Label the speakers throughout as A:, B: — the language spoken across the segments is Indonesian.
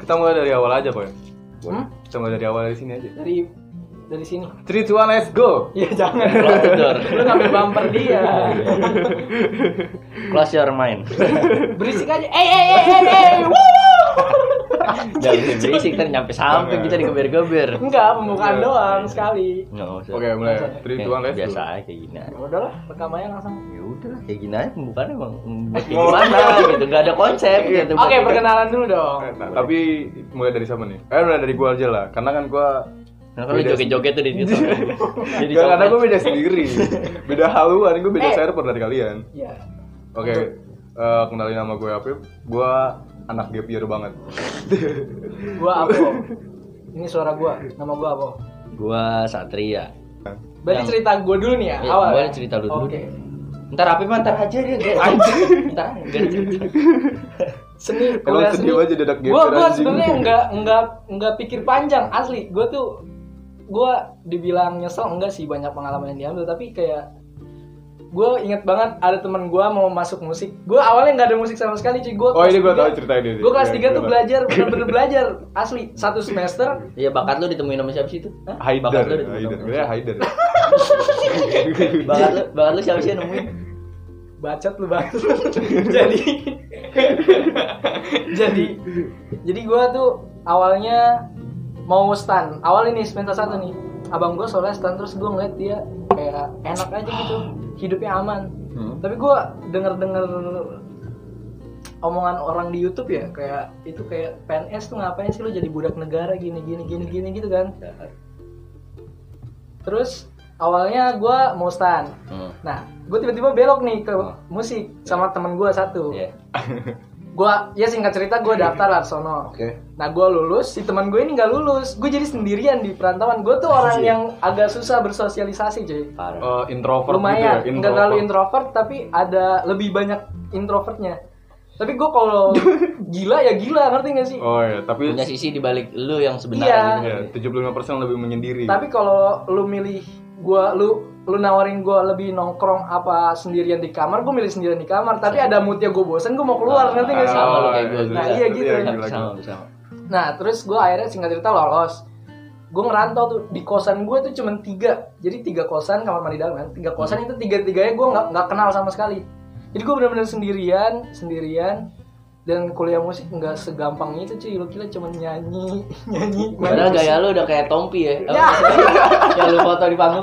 A: Kita mulai dari awal aja, Boy.
B: Hmm?
A: Kita mulai dari awal dari sini aja.
B: Dari dari sini.
A: 3 2 let's go.
C: Iya,
B: Ya jangan.
C: Close the door.
B: Lu ngambil bumper dia.
C: Close your mind.
B: Berisik aja. Eh eh eh eh eh. Woo!
C: Jangan bikin berisik ntar nyampe samping kita digeber-geber.
B: Enggak, pembukaan doang sekali.
C: Nggak usah.
A: Oke, mulai. 3 2 let's
C: Kayak
A: go.
C: Biasa aja kayak gini. aja.
B: Ya udahlah, rekam aja langsung.
C: Ya udahlah kayak gini aja pembukaan emang buat
A: Oh.
C: kayak gimana gitu. Gak ada konsep
A: Iya.
C: gitu.
B: Oke, perkenalan dulu dong.
A: Eh, nah, tapi mulai dari sama nih. Eh, mulai dari gua aja lah. Karena kan gua
C: Nah, kalau joget-joget tuh di
A: Iya.
C: situ. Jadi
A: Gak, karena
C: copet.
A: gua beda sendiri. beda haluan, gua beda
B: Eh.
A: server dari kalian.
B: Iya.
A: Oke. eh, kenalin nama gue Apip. Gua anak gap year banget.
B: Gua Apo. Ini suara gua. Nama gua Apo.
C: Gua Satria.
B: Berarti
C: Yang-
B: cerita gua dulu nih ya,
C: Iya,
B: awal.
C: boleh
B: ya?
C: cerita lu dulu
B: Oke.
C: deh. Ntar Apip mah ntar aja dia. dia- Ntar aja, biar cerita.
B: Seni
A: Emang
B: kuliah
A: sedih
B: seni.
A: aja dadak geser,
B: Gua gua
A: anjing.
B: sebenarnya enggak enggak enggak pikir panjang asli. Gua tuh gua dibilang nyesel enggak sih banyak pengalaman yang diambil tapi kayak gue inget banget ada teman gua mau masuk musik gue awalnya nggak ada musik sama sekali cuy gue
A: Oh, ini gua tahu cerita ini.
B: gue kelas
A: Iya,
B: 3
A: gua
B: tuh
A: tahu.
B: belajar bener-bener belajar asli satu semester
C: Iya bakat lu ditemuin sama siapa sih itu? Hah? Bakat
A: Haider,
C: lu
A: Haider.
C: ditemuin sama
A: Gua ya Haider.
C: siapa? Bakat lu, bakat lu siapa sih yang nemuin?
B: bacot lu banget jadi jadi jadi gua tuh awalnya mau stan awal ini semester satu nih abang gua soalnya stan terus gua ngeliat dia kayak enak aja gitu hidupnya aman
C: Hmm.
B: tapi gua denger denger omongan orang di YouTube ya kayak itu kayak PNS tuh ngapain sih lu jadi budak negara gini gini gini gini gitu kan terus awalnya gua mau stan
C: Hmm.
B: Nah, gue tiba-tiba belok nih ke
C: Oh.
B: musik sama temen gue satu.
C: Iya.
B: Gue, ya singkat cerita gue daftar lah sono. Nah, gue lulus, si teman gue ini nggak lulus. Gue jadi sendirian di perantauan. Gue tuh orang
C: Anjir.
B: yang agak susah bersosialisasi, cuy.
C: Parah.
A: Eh, introvert
B: Lumayan,
A: gitu ya.
B: nggak terlalu introvert, tapi ada lebih banyak introvertnya. Tapi gue kalau gila ya gila, ngerti gak sih?
A: Oh iya, tapi
C: Punya sisi di balik lu yang
B: Iya.
C: sebenarnya
A: ya,
C: gitu.
A: 75% lebih
C: Iya.
A: menyendiri.
B: Tapi kalau lu milih gua lu lu nawarin gua lebih nongkrong apa sendirian di kamar, gua milih sendirian di kamar. Tapi ada moodnya gua bosen, gua mau keluar nanti nggak sih?
C: Ah, sama lu kayak gua,
A: iya,
C: gua.
B: Nah, iya gitu.
A: gila, gila.
C: Sama, sama.
B: Nah, terus gua akhirnya singkat cerita lolos. Gua ngerantau tuh di kosan gua tuh cuman tiga, jadi tiga kosan kamar mandi dalam kan, tiga
C: Hmm.
B: kosan itu tiga tiganya gua nggak nggak kenal sama sekali. Jadi gua bener-bener sendirian, sendirian dan kuliah musik nggak segampang itu cuy, lu kira cuman nyanyi, nyanyi. main
C: Padahal
B: musik.
C: gaya lu udah kayak Tompi ya. Apa
B: Ya.
C: maksudnya? yang lu foto di panggung.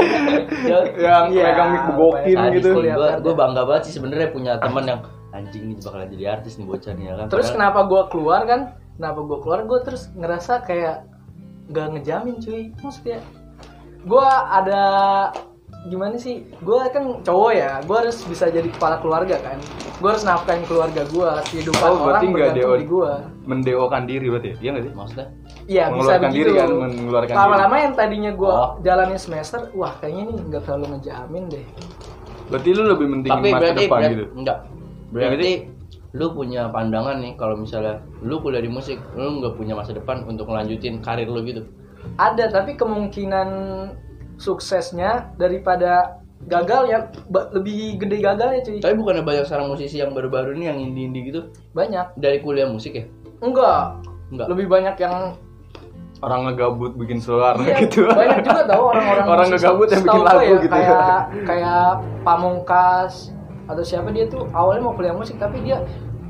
C: Ya.
A: Yang
B: Iya,
A: pegang mic bogokin
B: Nah,
A: gitu.
B: kuliah
C: Gue
B: kerja.
C: gue bangga banget sih sebenarnya punya teman yang anjing ini bakalan jadi artis nih bocah nih ya kan.
B: Terus
C: Padahal-
B: kenapa gue keluar kan? Kenapa gue keluar? Gue terus ngerasa kayak nggak ngejamin cuy. Maksudnya gue ada gimana sih? Gue kan cowok ya. Gue harus bisa jadi kepala keluarga kan. Gue harus nafkahin keluarga gue. Kehidupan
A: Oh, berarti
B: orang
A: nggak
B: bergantung
A: deo-
B: di gue.
A: mendeokan diri berarti ya? Iya nggak sih?
C: Maksudnya?
B: Iya bisa
A: Mengeluarkan
B: begitu.
A: diri kan, mengeluarkan
B: Lama-lama yang tadinya gue
C: Oh.
B: jalani semester, wah kayaknya ini nggak terlalu ngejamin deh.
A: Berarti lu lebih penting
C: Tapi
A: masa
C: berarti
A: depan
C: berarti-
A: gitu.
C: enggak. Berarti lu punya pandangan nih kalau misalnya lu kuliah di musik, lu nggak punya masa depan untuk ngelanjutin karir lu gitu.
B: ada tapi kemungkinan suksesnya daripada gagal ya ba- lebih gede gagalnya cuy
C: Tapi bukannya banyak sekarang musisi yang baru-baru ini yang indie-indie gitu
B: banyak
C: dari kuliah musik ya?
B: enggak
C: Enggak.
B: lebih banyak yang
A: Orang ngegabut bikin solar
B: Iya,
A: gitu.
B: banyak juga tau orang-orang
A: Orang
B: musisi.
A: ngegabut yang bikin
B: Setahu gua
A: lagu gitu ya.
B: kayak kayak pamungkas atau siapa dia tuh awalnya mau kuliah musik tapi dia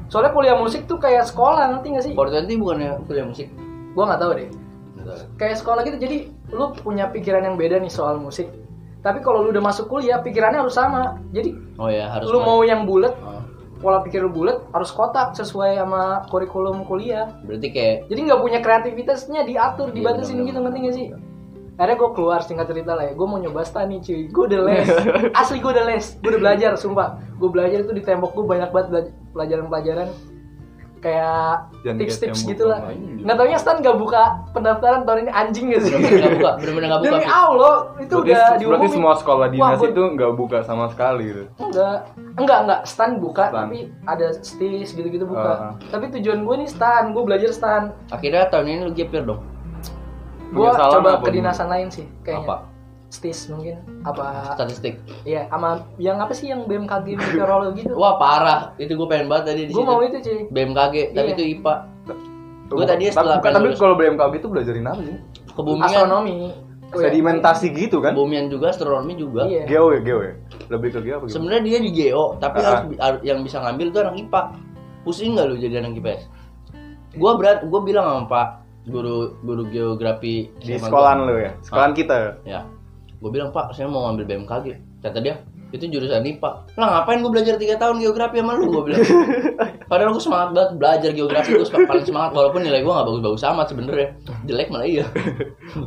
B: soalnya kuliah musik tuh kayak sekolah nanti nggak sih
C: Fortnite bukannya kuliah musik?
B: gua nggak tahu deh kayak sekolah gitu jadi lu punya pikiran yang beda nih soal musik tapi kalau lu udah masuk kuliah pikirannya harus sama jadi
C: Oh ya harus.
B: lu mau yang bulat
C: Oh,
B: pola pikir lu bulat harus kotak sesuai sama kurikulum kuliah
C: berarti kayak
B: jadi nggak punya kreativitasnya diatur
C: Iya,
B: dibatasin
C: benar-benar.
B: gitu ngerti nggak sih akhirnya gue keluar singkat cerita lah ya gue mau nyoba stan nih cuy gue udah les asli gue udah les gue udah belajar sumpah gue belajar itu di tembok gue banyak banget belaj- pelajaran-pelajaran kayak
A: Jangan
B: tips-tips
A: kayak tembok gitu?
B: gitulah
A: sama ini.
B: nggak taunya stan nggak buka pendaftaran tahun ini anjing gak sih
C: bener-bener nggak buka, bener-bener nggak buka.
B: demi allah itu
A: berarti,
B: udah diumumin
A: berarti semua sekolah
B: Wah,
A: dinas
B: gua-
A: itu nggak buka sama sekali gitu.
B: Enggak, enggak, enggak. Stan buka,
A: Stan.
B: tapi ada stis gitu-gitu buka.
A: Ah.
B: Tapi tujuan gue nih stan, gue belajar stan.
C: Akhirnya tahun ini lu gapir dong.
B: Gue
A: Penyesalan
B: coba
A: apa
B: kedinasan lain sih, kayaknya.
C: Apa?
B: Stis mungkin, apa?
C: Statistik.
B: Iya, sama yang apa sih yang BMKG meteorologi itu?
C: Wah parah, itu gue pengen banget tadi di
B: Gue
C: situ.
B: mau itu cuy.
C: BMKG, tapi
B: Iya.
C: itu IPA. Gua tadi setelah
A: Bukan, tapi
C: lulus-
A: kalau BMKG itu belajarin apa
B: Oh,
A: sih?
B: iya.
C: kebumian
B: astronomi
A: Sedimentasi gitu kan?
C: kebumian juga astronomi juga
B: Iya.
A: Geo ya, geo ya. Lebih ke geo apa gimana?
C: sebenarnya dia di geo tapi
A: Ah.
C: harus bi- har- yang bisa ngambil tuh anak ipa pusing nggak lu jadi anak
B: Iya.
C: ips gua berat gua bilang sama pak guru guru geografi
A: Di
C: SMA gua.
A: sekolahan lo ya? Sekolahan kita ya?
C: ya gue bilang pak saya mau ngambil BMKG kata dia itu jurusan IPA lah ngapain gue belajar tiga tahun geografi sama lu gue bilang padahal gue semangat banget belajar geografi gue paling semangat walaupun nilai gue gak bagus-bagus amat sebenernya jelek malah iya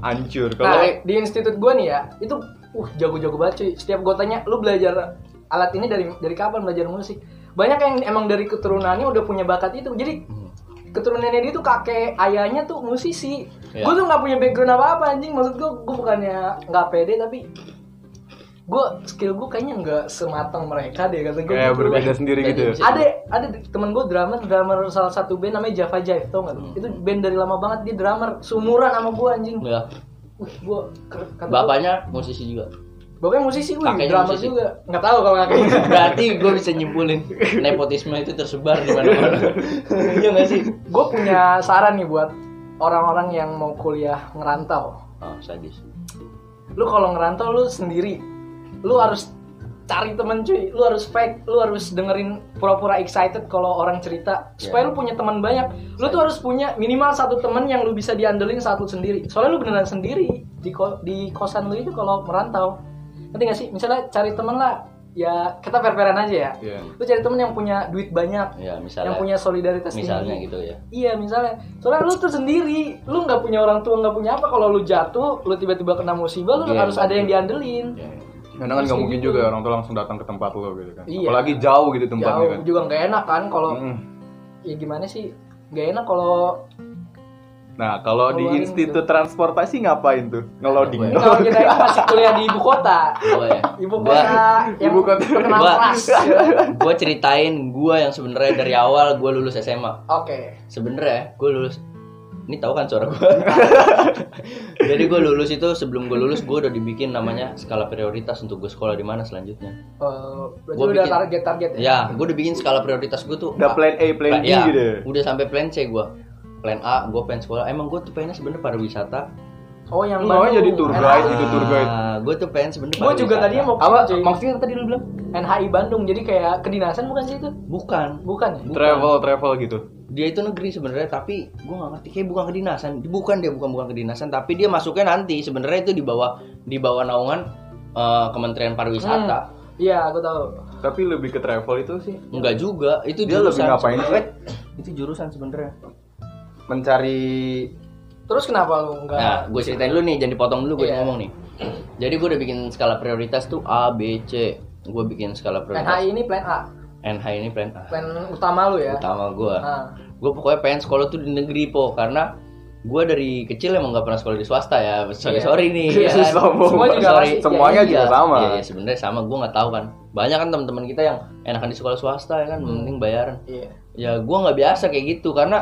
A: Hancur. Kalau
B: Nah, di institut gua nih ya, itu uh jago-jago banget cuy. Setiap gua tanya, lu belajar alat ini dari dari kapan belajar musik? Banyak yang emang dari keturunannya udah punya bakat itu. Jadi
A: Hmm.
B: keturunannya dia tuh kakek ayahnya tuh musisi.
C: Iya.
B: Gua tuh nggak punya background apa-apa anjing. Maksud gua, gua bukannya nggak pede tapi gua skill gua kayaknya nggak sematang mereka deh kata gua.
A: kayak
B: gitu.
A: berbeda sendiri gitu ya?
B: Ada ada temen gue drummer drummer salah satu band namanya Java Jive tau gak?
A: Hmm.
B: Itu band dari lama banget dia drummer sumuran sama gue anjing.
C: ya.
B: Wih, gua kata gua-
C: bapaknya musisi juga
B: bapaknya musisi, wih,
C: Kakeknya
B: drummer
C: musisi.
B: juga. Nggak tahu kalau kakeknya.
C: berarti gue bisa nyimpulin nepotisme itu tersebar di mana-mana iya gak sih
B: gue punya saran nih buat orang-orang yang mau kuliah ngerantau.
C: oh sadis
B: Lu kalau ngerantau lu sendiri, lu harus cari temen cuy, lu harus fake, lu harus dengerin pura-pura excited kalau orang cerita
C: Ya.
B: supaya lu punya teman banyak. Lu tuh harus punya minimal satu temen yang lu bisa diandelin saat lu sendiri. Soalnya lu beneran sendiri di ko- di kosan lu itu kalau merantau. Nanti gak sih? Misalnya cari temen lah, ya kita fair-fairan aja ya.
A: Iya.
B: Lu cari temen yang punya duit banyak, yang
C: ya misalnya
B: punya solidaritas
C: misalnya
B: tinggi.
C: gitu ya
B: Iya misalnya, soalnya lu tuh sendiri, lu nggak punya orang tua, nggak punya apa. Kalau lu jatuh, lu tiba-tiba kena musibah, lu
C: Iya,
B: harus ada yang diandelin.
C: Ya.
A: Kadang kan nggak mungkin juga orang tuh langsung datang ke tempat lo gitu kan.
B: Iya.
A: Apalagi jauh gitu tempatnya
B: Jauh
A: kan.
B: juga nggak enak kan kalau
A: Mm.
B: ya gimana sih? Nggak enak kalau
A: Nah, kalau di
B: Ngeluarin
A: Institut Transportasi ngapain tuh? Ngeloading.
C: Apa ya?
B: kalau kita ini masih kuliah di ibu kota,
C: Gua ya
B: ibu
C: Gua-
B: kota yang
A: Ibu kota.
B: terkenal
C: Gua-
B: keras.
C: gue ceritain gue yang sebenarnya dari awal gue lulus SMA
B: Oke,
C: sebenarnya gue lulus ini tahu kan suara gue jadi gue lulus itu sebelum gue lulus gue udah dibikin namanya skala prioritas untuk gue sekolah di mana selanjutnya
B: Eh, berarti
C: Gua
B: lu udah
C: bikin-
B: target-target
A: Iya.
B: ya?
C: ya gue udah bikin skala prioritas gue tuh
A: Udah
C: ah,
A: plan A, plan B
C: ya,
A: gitu. ya?
C: udah sampai plan C gue plan A gue pengen sekolah emang gue tuh pengennya sebenarnya pariwisata
B: Oh yang
A: Lu maunya Iya,
B: Bandung,
A: jadi tour
B: NHI.
A: guide gitu. tour guide.
C: gue tuh pengen sebenarnya
B: Gua juga
C: pariwisata.
B: tadinya mau
A: Apa
B: cuy.
A: maksudnya tadi lu bilang?
B: NHI Bandung, jadi kayak kedinasan bukan sih itu?
C: bukan
B: Bukan ya?
C: Bukan.
A: Travel, travel gitu.
C: dia itu negeri sebenarnya tapi gue nggak ngerti kayak bukan kedinasan bukan dia bukan bukan kedinasan tapi dia masuknya nanti sebenarnya itu di bawah di bawah naungan eh, Kementerian Pariwisata
B: Iya, aku tahu.
A: Tapi lebih ke travel itu sih
B: Hmm.
C: enggak juga itu
A: Dia
C: jurusan
A: lebih ngapain sih?
C: sebenarnya. itu jurusan sebenarnya
A: mencari
B: Terus kenapa lu nggak?
C: nah gue ceritain dulu nih jangan dipotong dulu gue
B: Iya.
C: ngomong nih jadi gue udah bikin skala prioritas tuh A B C gue bikin skala
B: Plan
C: prioritas
B: A ini plan A,
C: NH ini ah, plan A
B: plan utama lu ya.
C: utama gue
B: Nah,
C: gue pokoknya pengen sekolah tuh di negeri po karena gue dari kecil emang nggak pernah sekolah di swasta ya sorry
B: Iya.
C: sorry nih ya kan?
A: Sombong.
B: Semua juga
C: Sorry.
B: pasti-
A: Semuanya
B: ya, iya.
A: juga sama.
C: Iya, iya, sebenarnya sama. Gue nggak tahu kan. Banyak kan teman-teman kita yang enakan di sekolah swasta ya kan, mending bayaran.
B: Iya.
C: Ya gue nggak biasa kayak gitu karena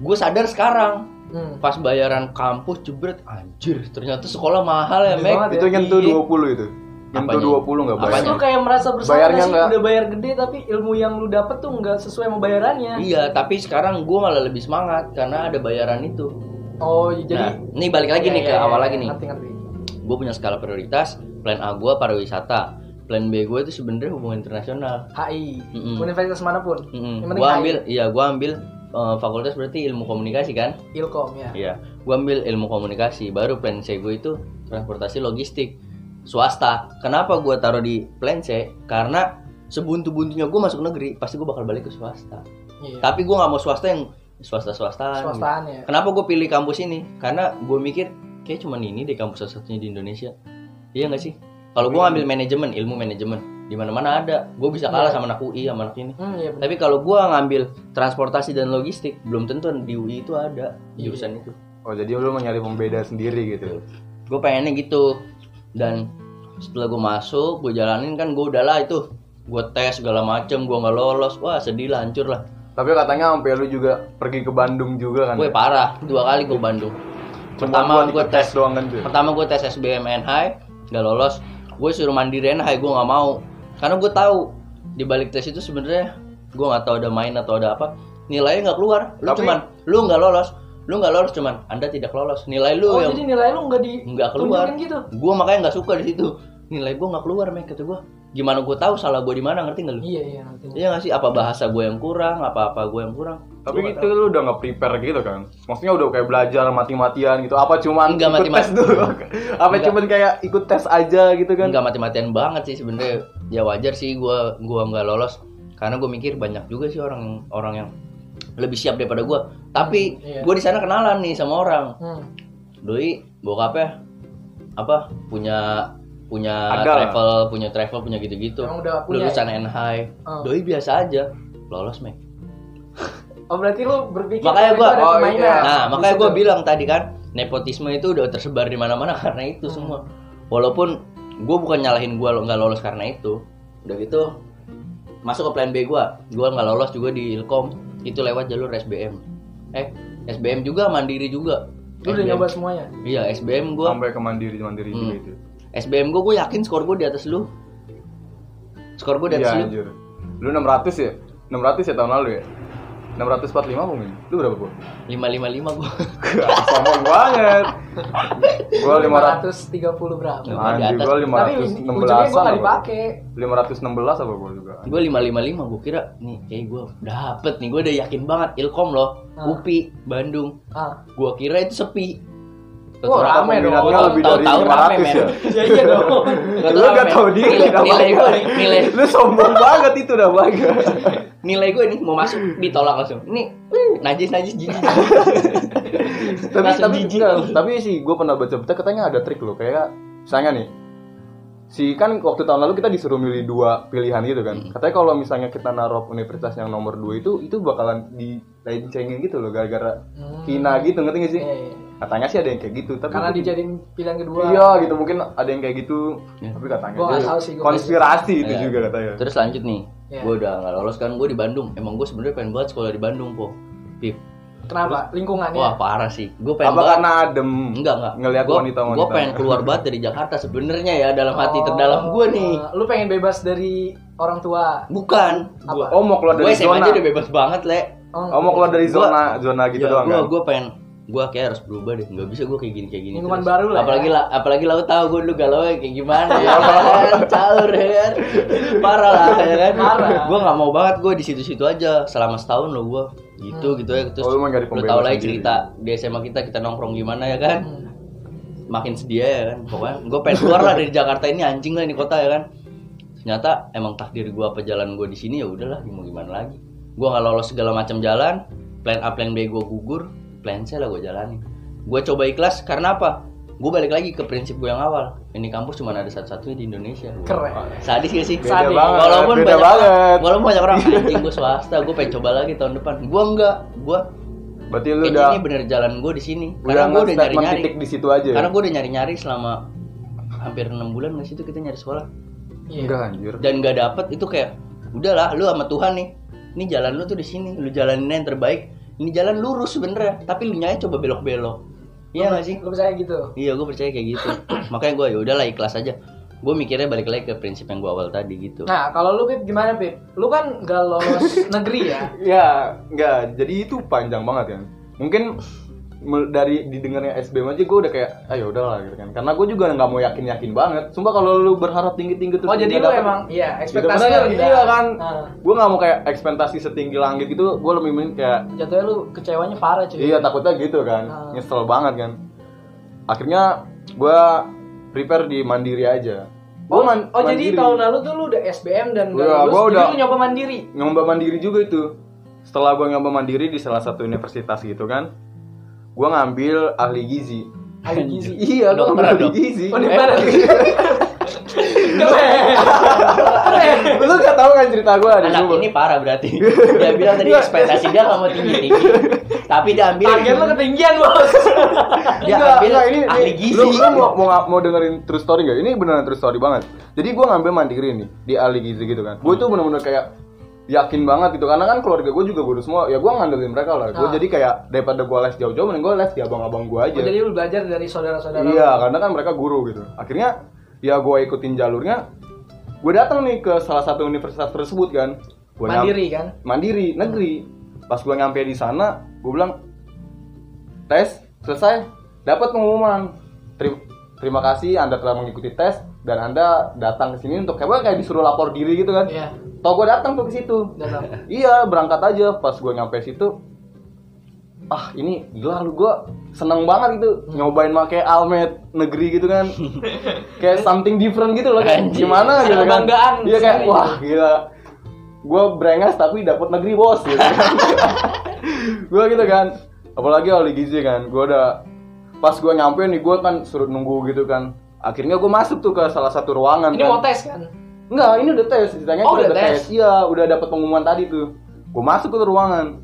C: gue sadar sekarang
B: Hmm.
C: pas bayaran kampus jebret anjir ternyata sekolah mahal ya
B: Gede
C: Mek
B: banget
A: itu
B: Iya.
A: nyentuh 20 itu. Nyentuh
C: Apanya?
A: 20 nggak
B: Terus
A: bayar.
B: lu kayak merasa bersalah
A: Bayarnya
B: sih
A: nggak-
B: udah bayar gede tapi ilmu yang lu dapet tuh nggak sesuai sama bayarannya.
C: iya tapi sekarang gue malah lebih semangat karena ada bayaran itu
B: Oh, iya, jadi
C: nah ini balik lagi
B: Iya,
C: nih
B: iya,
C: ke
B: iya,
C: awal lagi nih
B: Ngerti ngerti.
C: gue punya skala prioritas plan A gue pariwisata plan B gue itu sebenarnya hubungan internasional
B: HI,
C: Mm-mm.
B: universitas manapun. Yang
C: Mm-mm.
B: penting
C: Gua
B: HI.
C: ambil, iya gua ambil eh, fakultas berarti ilmu komunikasi kan?
B: Ilkom ya.
C: Iya. Gua ambil ilmu komunikasi. Baru plan C gue itu transportasi logistik swasta. Kenapa gua taruh di plan C? Karena sebuntu-buntunya gua masuk negeri, pasti gua bakal balik ke swasta.
B: Iya.
C: Tapi gua nggak mau swasta yang swasta-swastaan.
B: Swastaan ya.
C: gitu. Kenapa gue pilih kampus ini? Karena gue mikir kayak cuman ini deh kampus satu-satunya di Indonesia. Iya nggak sih? Kalau gue ngambil manajemen, ilmu manajemen, di mana-mana ada. Gue bisa kalah sama anak UI sama anak ini.
B: Hmm, iya bener.
C: Tapi kalau gua ngambil transportasi dan logistik, belum tentu di UI itu ada jurusan itu.
A: Oh, jadi lu mencari pembeda sendiri gitu.
C: Gue pengennya gitu. Dan setelah gue masuk, gue jalanin kan gue udah lah itu. Gue tes segala macem, gue nggak lolos. Wah sedih lah, hancur lah.
A: Tapi katanya sampai lu juga pergi ke Bandung juga kan.
C: Gue parah, dua kali gue Bandung.
A: Cuma
C: Pertama
A: buat
C: gue
A: ikut
C: tes,
A: tes doang kan tuh.
C: pertama gue tes SBMN High, nggak lolos. Gue suruh mandiri High, gue nggak mau. Karena gue tahu di balik tes itu sebenarnya gue nggak tahu ada main atau ada apa. nilainya nggak keluar lu
A: Tapi-
C: cuman lu nggak lolos lu nggak lolos cuman anda tidak lolos nilai lu
B: Oh,
C: yang
B: jadi nilai lu nggak di
C: nggak keluar
B: tunjukin gitu.
C: gua makanya nggak suka di situ nilai gua nggak keluar mek kata gua gimana gua tahu salah gua di mana ngerti nggak lu
B: Iya, iya nanti.
C: Iya nggak sih apa bahasa gua yang kurang apa apa gua yang kurang
A: Tapi itu lu udah nggak prepare gitu kan? Maksudnya udah kayak belajar mati-matian gitu. Apa cuman
C: Nggak
A: ikut tes
C: mati-mati.
A: dulu? Apa
C: Nggak.
A: cuman kayak ikut tes aja gitu kan?
C: nggak mati-matian banget sih sebenarnya ya wajar sih gua gua nggak lolos karena gue mikir banyak juga sih orang orang yang lebih siap daripada gua tapi
B: Iya.
C: gua di sana kenalan nih sama orang
B: Hmm.
C: doi bokapnya apa punya punya
A: Ada.
C: travel punya travel punya gitu-gitu
B: Emang udah punya
C: lulusan NHI
B: Oh.
C: doi biasa aja lolos mek
B: Oh, berarti lu berpikir
C: Makanya
B: kalau itu
C: gua-
B: ada
A: oh,
B: permainan.
A: iya.
C: Nah,
B: Di
C: makanya
B: situ.
C: gue bilang tadi kan nepotisme itu udah tersebar di mana-mana karena itu semua. Walaupun gue bukan nyalahin gue lo nggak lolos karena itu. Udah gitu masuk ke plan B gue, gue nggak lolos juga di Ilkom itu lewat jalur SBM. Eh, SBM juga mandiri juga.
B: Lu udah
C: SBM.
B: nyoba semuanya.
C: Iya, SBM gue.
A: Sampai ke mandiri mandiri juga
C: Hmm.
A: itu.
C: SBM gue, gue yakin skor gue di atas lu. Skor gue di atas
A: Iya
C: lu.
A: anjir. Lu 600 ya? 600 ya tahun lalu ya? 645 mungkin. Lu berapa, Bu?
C: 555 gue.
A: Sombong banget. Gua 500
B: 530 berapa?
C: Nah,
A: Anjir, gua
B: Tapi ujungnya
A: 516
B: gua nggak dipakai.
A: 516 apa gua juga?
C: Gue 555 gue kira nih kayak gue dapet nih gue udah yakin banget Ilkom loh,
B: Ah.
C: UPI, Bandung.
B: Ah.
C: gua kira itu sepi
B: Wah,
C: Ternyata
B: rame dong.
A: peminatnya
B: Tahu-
A: lebih dari
C: tahu-tahu
A: 500
C: rame,
A: ya.
B: Ya iya dong.
C: Ternyata
A: Lu gak
C: rame.
A: tau diri
C: nilai,
A: dah,
C: nilai
A: Bang.
C: gue nilai
A: Lu sombong banget itu udah banget.
C: nilai gue nih mau masuk ditolak langsung ini wih, najis najis jijik
A: tapi
C: Langsung
A: tapi
C: jijik.
A: enggak, tapi sih gue pernah baca berita katanya ada trik loh kayak misalnya nih si kan waktu tahun lalu kita disuruh milih dua pilihan gitu kan
B: Hmm.
A: katanya kalau misalnya kita naruh universitas yang nomor dua itu itu bakalan dilencengin gitu loh gara-gara
B: Hmm.
A: Kina gitu ngerti gak sih
B: Iya, iya.
A: katanya sih ada yang kayak gitu tapi
B: Karena dijadiin pilihan kedua.
A: iya gitu mungkin ada yang kayak gitu
C: Ya.
A: tapi katanya
B: Gua nggak
A: itu
B: tahu sih, gua
A: konspirasi itu
C: Ya.
A: juga katanya
C: terus lanjut nih
B: Iya.
C: gua udah nggak lolos kan gue di Bandung emang gue sebenarnya pengen banget sekolah di Bandung po Pip.
B: Kenapa? ya? Lingkungannya.
C: wah parah sih gue pengen
A: apa
C: banget
A: karena adem
C: enggak enggak
A: ngelihat
C: Gua-
A: wanita-wanita.
C: gua pengen keluar banget dari Jakarta sebenarnya ya dalam hati terdalam gue nih
B: Oh, Lu pengen bebas dari orang tua.
C: bukan gua
A: oh mau keluar
C: gue
A: dari
C: SMA
A: zona
C: aja udah bebas banget le
B: iya.
A: oh mau keluar dari
C: Gua- Iya,
A: zona zona gitu doang
C: gue
A: kan
C: gue pengen gue kayak harus berubah deh nggak bisa gue kayak gini kayak gini
B: Minuman
C: terus.
B: baru lah
C: apalagi
B: ya.
C: lah apalagi lo tau gue dulu galau kayak gimana
A: Iya,
C: ya kan caur ya kan parah lah ya kan
B: Parah.
C: gue nggak mau banget gue di situ situ aja selama setahun lo gue gitu
B: Hmm.
C: gitu ya terus
A: Oh, lu mah nyari
C: lo
A: pembebas
C: tau lah ya
A: sendiri.
C: cerita di SMA kita kita nongkrong gimana ya kan
B: Hmm,
C: makin sedia ya kan pokoknya gue pengen keluar lah dari Jakarta ini anjing lah ini kota ya kan ternyata emang takdir gue apa jalan gue di sini ya udahlah mau gimana lagi gue nggak lolos segala macam jalan plan A plan B gue gugur plan C lah gue jalani gue coba ikhlas karena apa gue balik lagi ke prinsip gue yang awal ini kampus cuma ada satu-satunya di Indonesia Gua-
B: Keren.
C: sadis gak sih
A: Beda
B: Sadis.
A: banget,
C: walaupun
A: beda
C: banyak
A: banget.
C: walaupun banyak orang anjing gue swasta gue pengen coba lagi tahun depan gue enggak gue
A: Berarti lu
C: ini
A: udah
C: ini bener jalan gue di sini
A: udah
C: karena gue udah
A: nge-statement
C: nyari-nyari
A: titik di situ aja.
C: karena gue udah nyari-nyari selama hampir enam bulan di situ kita nyari sekolah
B: Iya.
A: enggak anjir.
C: dan nggak dapet itu kayak udahlah lu sama Tuhan nih ini jalan lu tuh di sini lu jalanin yang terbaik ini jalan lurus sebenernya tapi lu nyanya coba belok-belok
A: Oh,
C: iya nggak sih
B: Lu percaya gitu.
C: iya gue percaya kayak gitu makanya gue ya udahlah ikhlas aja gue mikirnya balik lagi ke prinsip yang gue awal tadi gitu
B: Nah, kalau lu Pip gimana Pip? Lu kan gak lolos negeri ya?
A: Ya, enggak. Jadi itu panjang banget kan. Mungkin mul- dari didengarnya SBM aja gue udah kayak ayo udahlah gitu kan. Karena gue juga nggak mau yakin-yakin banget. Sumpah kalau lu berharap tinggi-tinggi terus
B: Oh, jadi
A: nggak
B: lu
A: dapet,
B: emang iya,
A: gitu
B: ekspektasi
A: bener,
B: lu rendah.
A: Iya kan.
B: Nah,
A: Gue nggak mau kayak ekspektasi setinggi langit gitu. Gue lebih mending kayak
B: jatuhnya lu kecewanya parah cuy.
A: Iya takutnya gitu kan,
B: Ah.
A: nyesel banget kan. Akhirnya gua prepare di mandiri aja. Gua
B: Oh,
A: man-
B: oh jadi
A: mandiri.
B: tahun lalu tuh lu udah SBM dan gak
A: Iya,
B: lulus,
A: gua
B: jadi
A: udah-
B: lu nyoba mandiri.
A: nyoba mandiri juga itu. Setelah gua nyoba mandiri di salah satu universitas gitu kan, gua ngambil ahli gizi.
B: Ahli gizi.
A: Iya, gua ngambil
C: Kedokteran
A: ahli
C: dong.
A: gizi.
B: Oh, di mana? Keren. Keren.
A: Lu gak tau kan cerita gua di
C: anak
A: Sumber?
C: ini parah berarti dia bilang tadi ekspektasi dia nggak mau tinggi-tinggi tapi dia ambil
B: Target lu ketinggian, Bos.
C: dia
A: Enggak,
C: ambil
A: enggak, ini,
C: ahli
A: ini-
C: gizi
A: Lu, lu mau, mau, mau dengerin true story gak? Ini beneran true story banget. Jadi gue ngambil mandiri nih di ahli gizi gitu kan.
B: Hmm.
A: Gue tuh bener-bener kayak yakin banget gitu karena kan keluarga gue juga guru semua ya gue ngandelin mereka lah gue
B: Ah.
A: jadi kayak daripada gue les jauh-jauh mending gue les di abang-abang gue aja
B: Oh, jadi lu belajar dari saudara-saudara. lu.
A: iya karena kan mereka guru gitu akhirnya ya gue ikutin jalurnya gue datang nih ke salah satu universitas tersebut kan Gua nyam-
B: Mandiri kan?
A: mandiri negeri pas gue nyampe di sana gue bilang tes selesai dapat pengumuman Teri- terima kasih anda telah mengikuti tes dan anda datang ke sini untuk kayak kayak disuruh lapor diri gitu kan
B: Iya.
A: toh gue datang tuh ke situ
B: Datang.
A: iya berangkat aja pas gue nyampe situ ah ini gila lu gue seneng banget gitu nyobain make almet negeri gitu kan kayak something different gitu loh kayak
C: Anjing.
A: gimana
B: Ada
A: gitu kan
B: kebanggaan
A: iya kayak
B: sendiri.
A: wah gila gue brengas tapi dapat negeri bos gitu kan gue gitu kan apalagi oli gizi kan gue udah pas gue nyampe nih gue kan suruh nunggu gitu kan akhirnya gue masuk tuh ke salah satu ruangan
B: Ini
A: kan.
B: mau tes kan?
A: Enggak, ini udah tes. Ceritanya
B: Oh,
A: gua
B: udah tes.
A: Iya, udah dapat pengumuman tadi tuh. Gue masuk ke ruangan.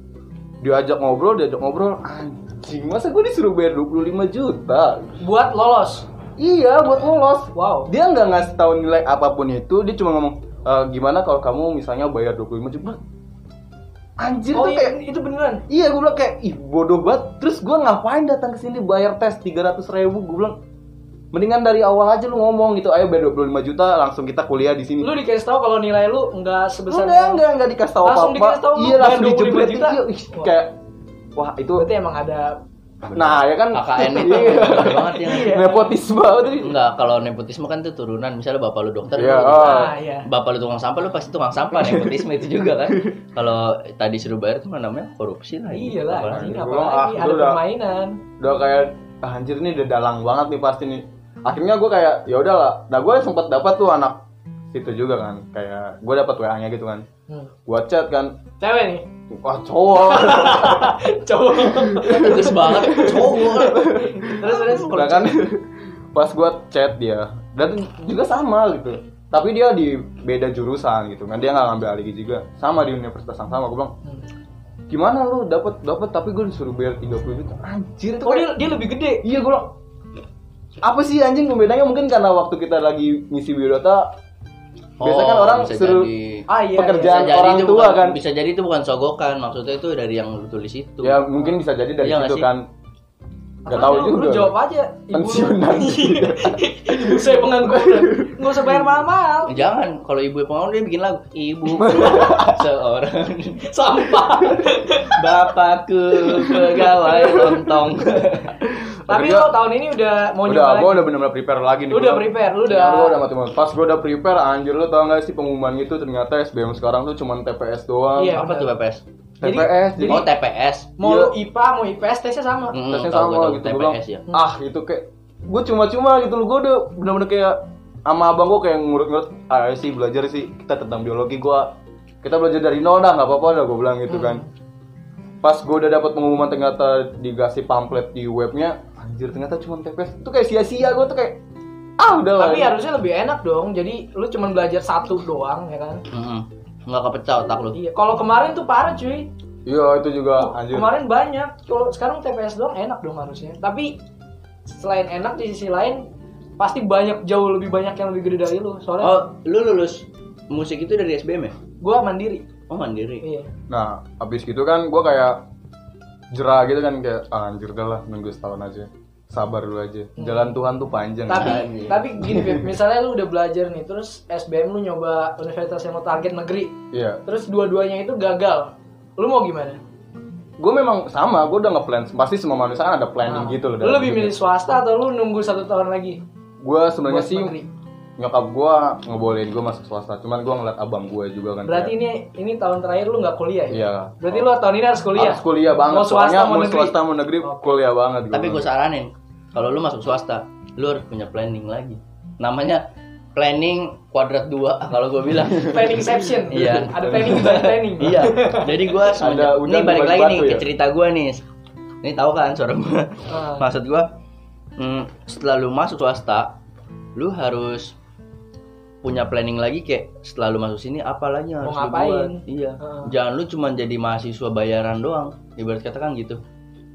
A: Diajak ngobrol, diajak ngobrol. Anjing, masa gue disuruh bayar 25 juta?
B: Buat lolos.
A: Iya, buat lolos.
B: Wow.
A: Dia nggak ngasih tahu nilai apapun itu, dia cuma ngomong, "E, gimana kalau kamu misalnya bayar 25 juta? Anjir,
B: Oh
A: tuh kayak
B: iya, itu beneran.
A: Iya gue bilang kayak ih bodoh banget. Terus gue ngapain datang ke sini bayar tes 300 ribu? Gue bilang mendingan dari awal aja lu ngomong gitu. Ayo bayar 25 juta langsung kita kuliah di sini.
B: Lu dikasih tahu kalau nilai lu nggak sebesar
A: enggak enggak enggak dikasih tahu
B: Langsung
A: apa-apa.
B: dikasih tahu lu
A: Iya
B: bayar
A: langsung
B: 25
A: dijebret
B: juta.
A: Iya, ih,
B: Wah.
A: kayak wah itu
B: Berarti emang ada
A: nah ya kan
C: KKN itu
A: Iya.
C: bener banget ya.
A: nepotisme banget ini.
C: Enggak, kalau nepotisme kan itu turunan. Misalnya bapak lu dokter,
A: Iya,
C: lu-
A: ah.
B: ah ya.
C: bapak lu tukang sampah, lu pasti tukang sampah. Nepotisme itu juga kan. Kalau tadi suruh bayar itu namanya korupsi lah.
B: Iya lah,
C: Apalagi.
B: anjing
A: Gua
B: apa
A: bilang,
B: lagi
A: ah,
B: ada
A: lu udah-
B: permainan.
A: Udah kayak ah, anjir ini udah dalang banget nih pasti nih. Akhirnya gue kayak ya udahlah. Nah gue sempat dapat tuh anak itu juga kan kayak gue dapat WA-nya gitu kan.
B: Hmm.
A: Gue chat kan
B: Cewek nih.
A: wah cowok.
B: Cowok.
C: Tegas Iya, banget, cowok.
B: terus terus
A: Udah kan pas gua chat dia dan juga sama gitu. Tapi dia di beda jurusan gitu kan. Dia nggak ngambil alih juga. Sama di universitas yang sama. Gue bilang,
B: Hmm.
A: "Gimana lu dapat dapat tapi gue disuruh bayar 30 juta." Anjir itu
B: Oh
A: kayak,
B: dia, dia lebih gede.
A: Iya gue bilang apa sih anjing pembedanya mungkin karena waktu kita lagi ngisi biodata biasanya kan
C: Oh,
A: orang
C: bisa
A: suruh
C: jadi.
B: Ah iya.
A: Pekerjaan.
B: iya.
A: Dan orang
C: itu
A: tua
C: bukan-
A: kan.
C: bisa jadi itu bukan sogokan maksudnya itu dari yang lu tulis itu
A: ya mungkin bisa jadi dari
C: Iya nggak
A: situ
C: sih?
A: kan
B: Apa
A: Gak tahu
B: lu-
A: juga Kan
B: Lu jawab aja. Ibu
A: Pensiun
B: lu.
A: nanti.
B: Ibu saya pengangguran. Enggak usah bayar mahal-mahal.
C: jangan kalau ibu pengaruh dia bikin lagu ibu seorang
B: Sampah.
C: bapakku pegawai lontong
B: Tapi
A: Harga-
B: lo tahun ini udah
A: udah
B: mau
A: gue
B: nyoba lagi.
A: udah benar-benar prepare lagi nih
B: Lu
A: gua
B: udah
A: bilang.
B: prepare, lu udah.
A: Ya, gua udah mati mati. Pas gue udah prepare, anjir lu tau gak sih pengumuman itu ternyata SBM sekarang tuh cuman TPS doang.
B: Iya.
C: apa tuh BPS
B: Jadi-
A: TPS, jadi,
C: oh TPS
B: Mau
A: Iya.
B: lu IPA, mau IPS tesnya sama.
C: Mm,
A: tesnya
C: tahu,
A: sama
C: gua tahu,
A: gitu. Gua bilang,
C: TPS ya
A: ah itu kayak gue cuma-cuma gitu loh. Gue udah bener-bener kayak sama abang gue kayak ngurut-ngurut, ah sih belajar sih kita tentang biologi gue kita belajar dari nol dah nggak apa-apa dah gue bilang gitu kan.
B: Hmm.
A: Pas gue udah dapat pengumuman ternyata dikasih pamflet di webnya, anjir ternyata cuma TPS. Itu kayak sia-sia gue tuh kayak ah udah lah.
B: Tapi harusnya lebih enak dong. Jadi lu cuman belajar satu doang ya kan.
C: Mm-mm. nggak kepecah otak lu
B: Iya. Kalau kemarin tuh parah cuy.
A: Iya itu juga anjir.
B: Oh, Kemarin banyak. Kalau sekarang TPS doang enak dong harusnya. Tapi selain enak di sisi lain pasti banyak jauh lebih banyak yang lebih gede dari lu. Soalnya
C: oh lu lulus musik itu dari SBM ya
B: gua mandiri.
C: oh mandiri
B: Iya.
A: Nah, abis gitu kan gue kayak jerah gitu kan kayak "Ah, anjir dah lah nunggu setahun aja. Sabar dulu aja. Jalan Tuhan tuh panjang.
B: Hmm. Tapi
C: Anjing.
B: tapi gini Beb, misalnya lu udah belajar nih terus SBM lu nyoba universitas yang mau target negeri.
A: Iya.
B: Terus dua-duanya itu gagal. Lu mau gimana?
A: Gue memang sama, gue udah nge-plan. Pasti semua manusia kan ada planning
B: Nah,
A: gitu loh.
B: Lu lebih milih swasta atau lu nunggu satu tahun lagi?
A: Gue sebenarnya
B: buat
A: sih
B: negeri?
A: nyokap gue ngebolehin gue masuk swasta. Cuman gue ngeliat abang gue juga kan.
B: Berarti ini ini tahun terakhir lu nggak kuliah ya?
A: Iya.
B: Berarti lu tahun ini harus kuliah.
A: Harus kuliah banget.
B: Mau swasta
A: Soalnya
B: mau negeri.
A: swasta mau negeri kuliah banget. gua.
C: tapi gue saranin kalau lu masuk swasta lu harus punya planning lagi namanya planning kuadrat dua kalau gue bilang
B: Planning exception.
C: Iya.
B: Ada planning di balik planning.
C: iya jadi gue semenjak
A: Ada
C: ini
A: udang
C: balik
A: dibalik
C: lagi nih
A: batu
C: ke
A: ya?
C: cerita gue nih ini tahu kan suara gue
B: Ah.
C: maksud gue mm, setelah lu masuk swasta lu harus punya planning lagi kayak setelah lu masuk sini apa lagi yang
B: Mau
C: harus lu
B: ngapain?
C: buat iya
B: Ah.
C: jangan lu cuman jadi mahasiswa bayaran doang ibarat kata kan gitu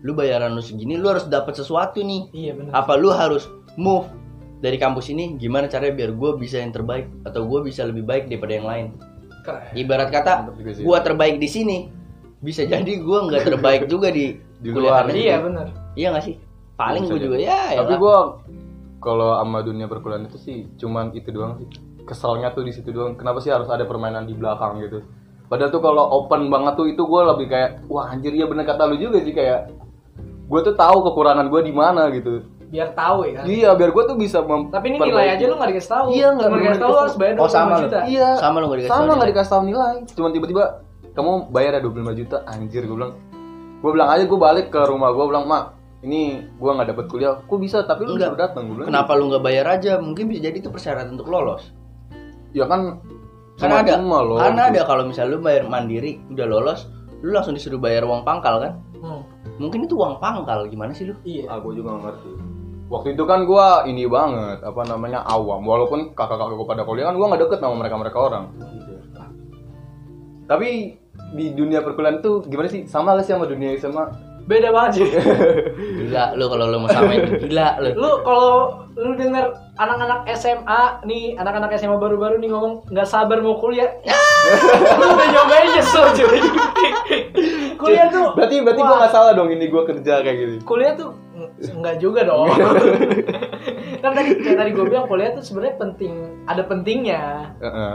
C: lu bayaran lu segini lu harus dapat sesuatu nih
B: Iya benar.
C: apa lu harus move dari kampus ini gimana caranya biar gue bisa yang terbaik atau gue bisa lebih baik daripada yang lain
B: Keren.
C: ibarat kata
A: Mantap juga sih.
C: gua terbaik di sini bisa jadi gua nggak terbaik juga di
A: Di
C: kuliahan
A: luar.
C: itu.
B: Iya benar.
C: iya nggak sih paling
A: Bisa
C: gua
A: jadi.
C: juga ya
A: Tapi
C: elah.
A: gue kalau sama dunia perkuliahan itu sih cuman itu doang sih. Keselnya tuh di situ doang. Kenapa sih harus ada permainan di belakang gitu? Padahal tuh kalau open banget tuh itu gue lebih kayak wah anjir iya bener kata lu juga sih kayak gue tuh tahu kekurangan gue di mana gitu.
B: biar tahu ya.
A: Iya biar gue tuh bisa mem-
B: Tapi ini nilai aja lu nggak dikasih tahu.
A: Iya, nggak
B: Cuma
A: bener-bener
B: dikasih tahu lu harus bayar
C: Oh, sama
B: 25
C: lu.
B: juta.
A: Iya.
C: Sama lu nggak dikasih
A: Sama
C: tahu
A: nggak
C: nilai.
A: dikasih tahu nilai. Cuman tiba-tiba kamu bayar ya 25 juta anjir gue bilang. Gue bilang aja gue balik ke rumah gue bilang mak ini gue nggak dapet kuliah. Kok bisa tapi lu
C: Enggak.
A: udah datang gue bilang.
C: Kenapa lu nggak bayar aja? Mungkin bisa jadi itu persyaratan untuk lolos.
A: Ya kan
C: Karena ada,
A: cuma-cuma loh.
C: karena ada kalau misalnya lu bayar mandiri udah lolos, lu langsung disuruh bayar uang pangkal kan?
B: Hmm,
C: Mungkin itu uang pangkal gimana sih lu?
B: iya.
A: Ah, gue juga gak ngerti. Waktu itu kan gue ini banget, apa namanya awam. Walaupun kakak-kakak gue pada kuliah kan gue nggak deket sama mereka-mereka orang. Tapi di dunia perkuliahan tuh gimana sih? Sama gak sih sama dunia SMA?
B: Beda banget sih.
C: Gila lu kalau lu mau samain gila lu.
B: lu kalau lu denger anak-anak SMA nih, anak-anak SMA baru-baru nih ngomong nggak sabar mau kuliah. lu udah nyobain nyesel cuy. kuliah tuh
A: Berarti berarti gue
B: wah,
A: nggak salah dong ini gue kerja kayak gini.
B: kuliah tuh nggak juga dong. kan tadi kayak tadi gue bilang kuliah tuh sebenarnya penting, ada pentingnya.
A: Heeh.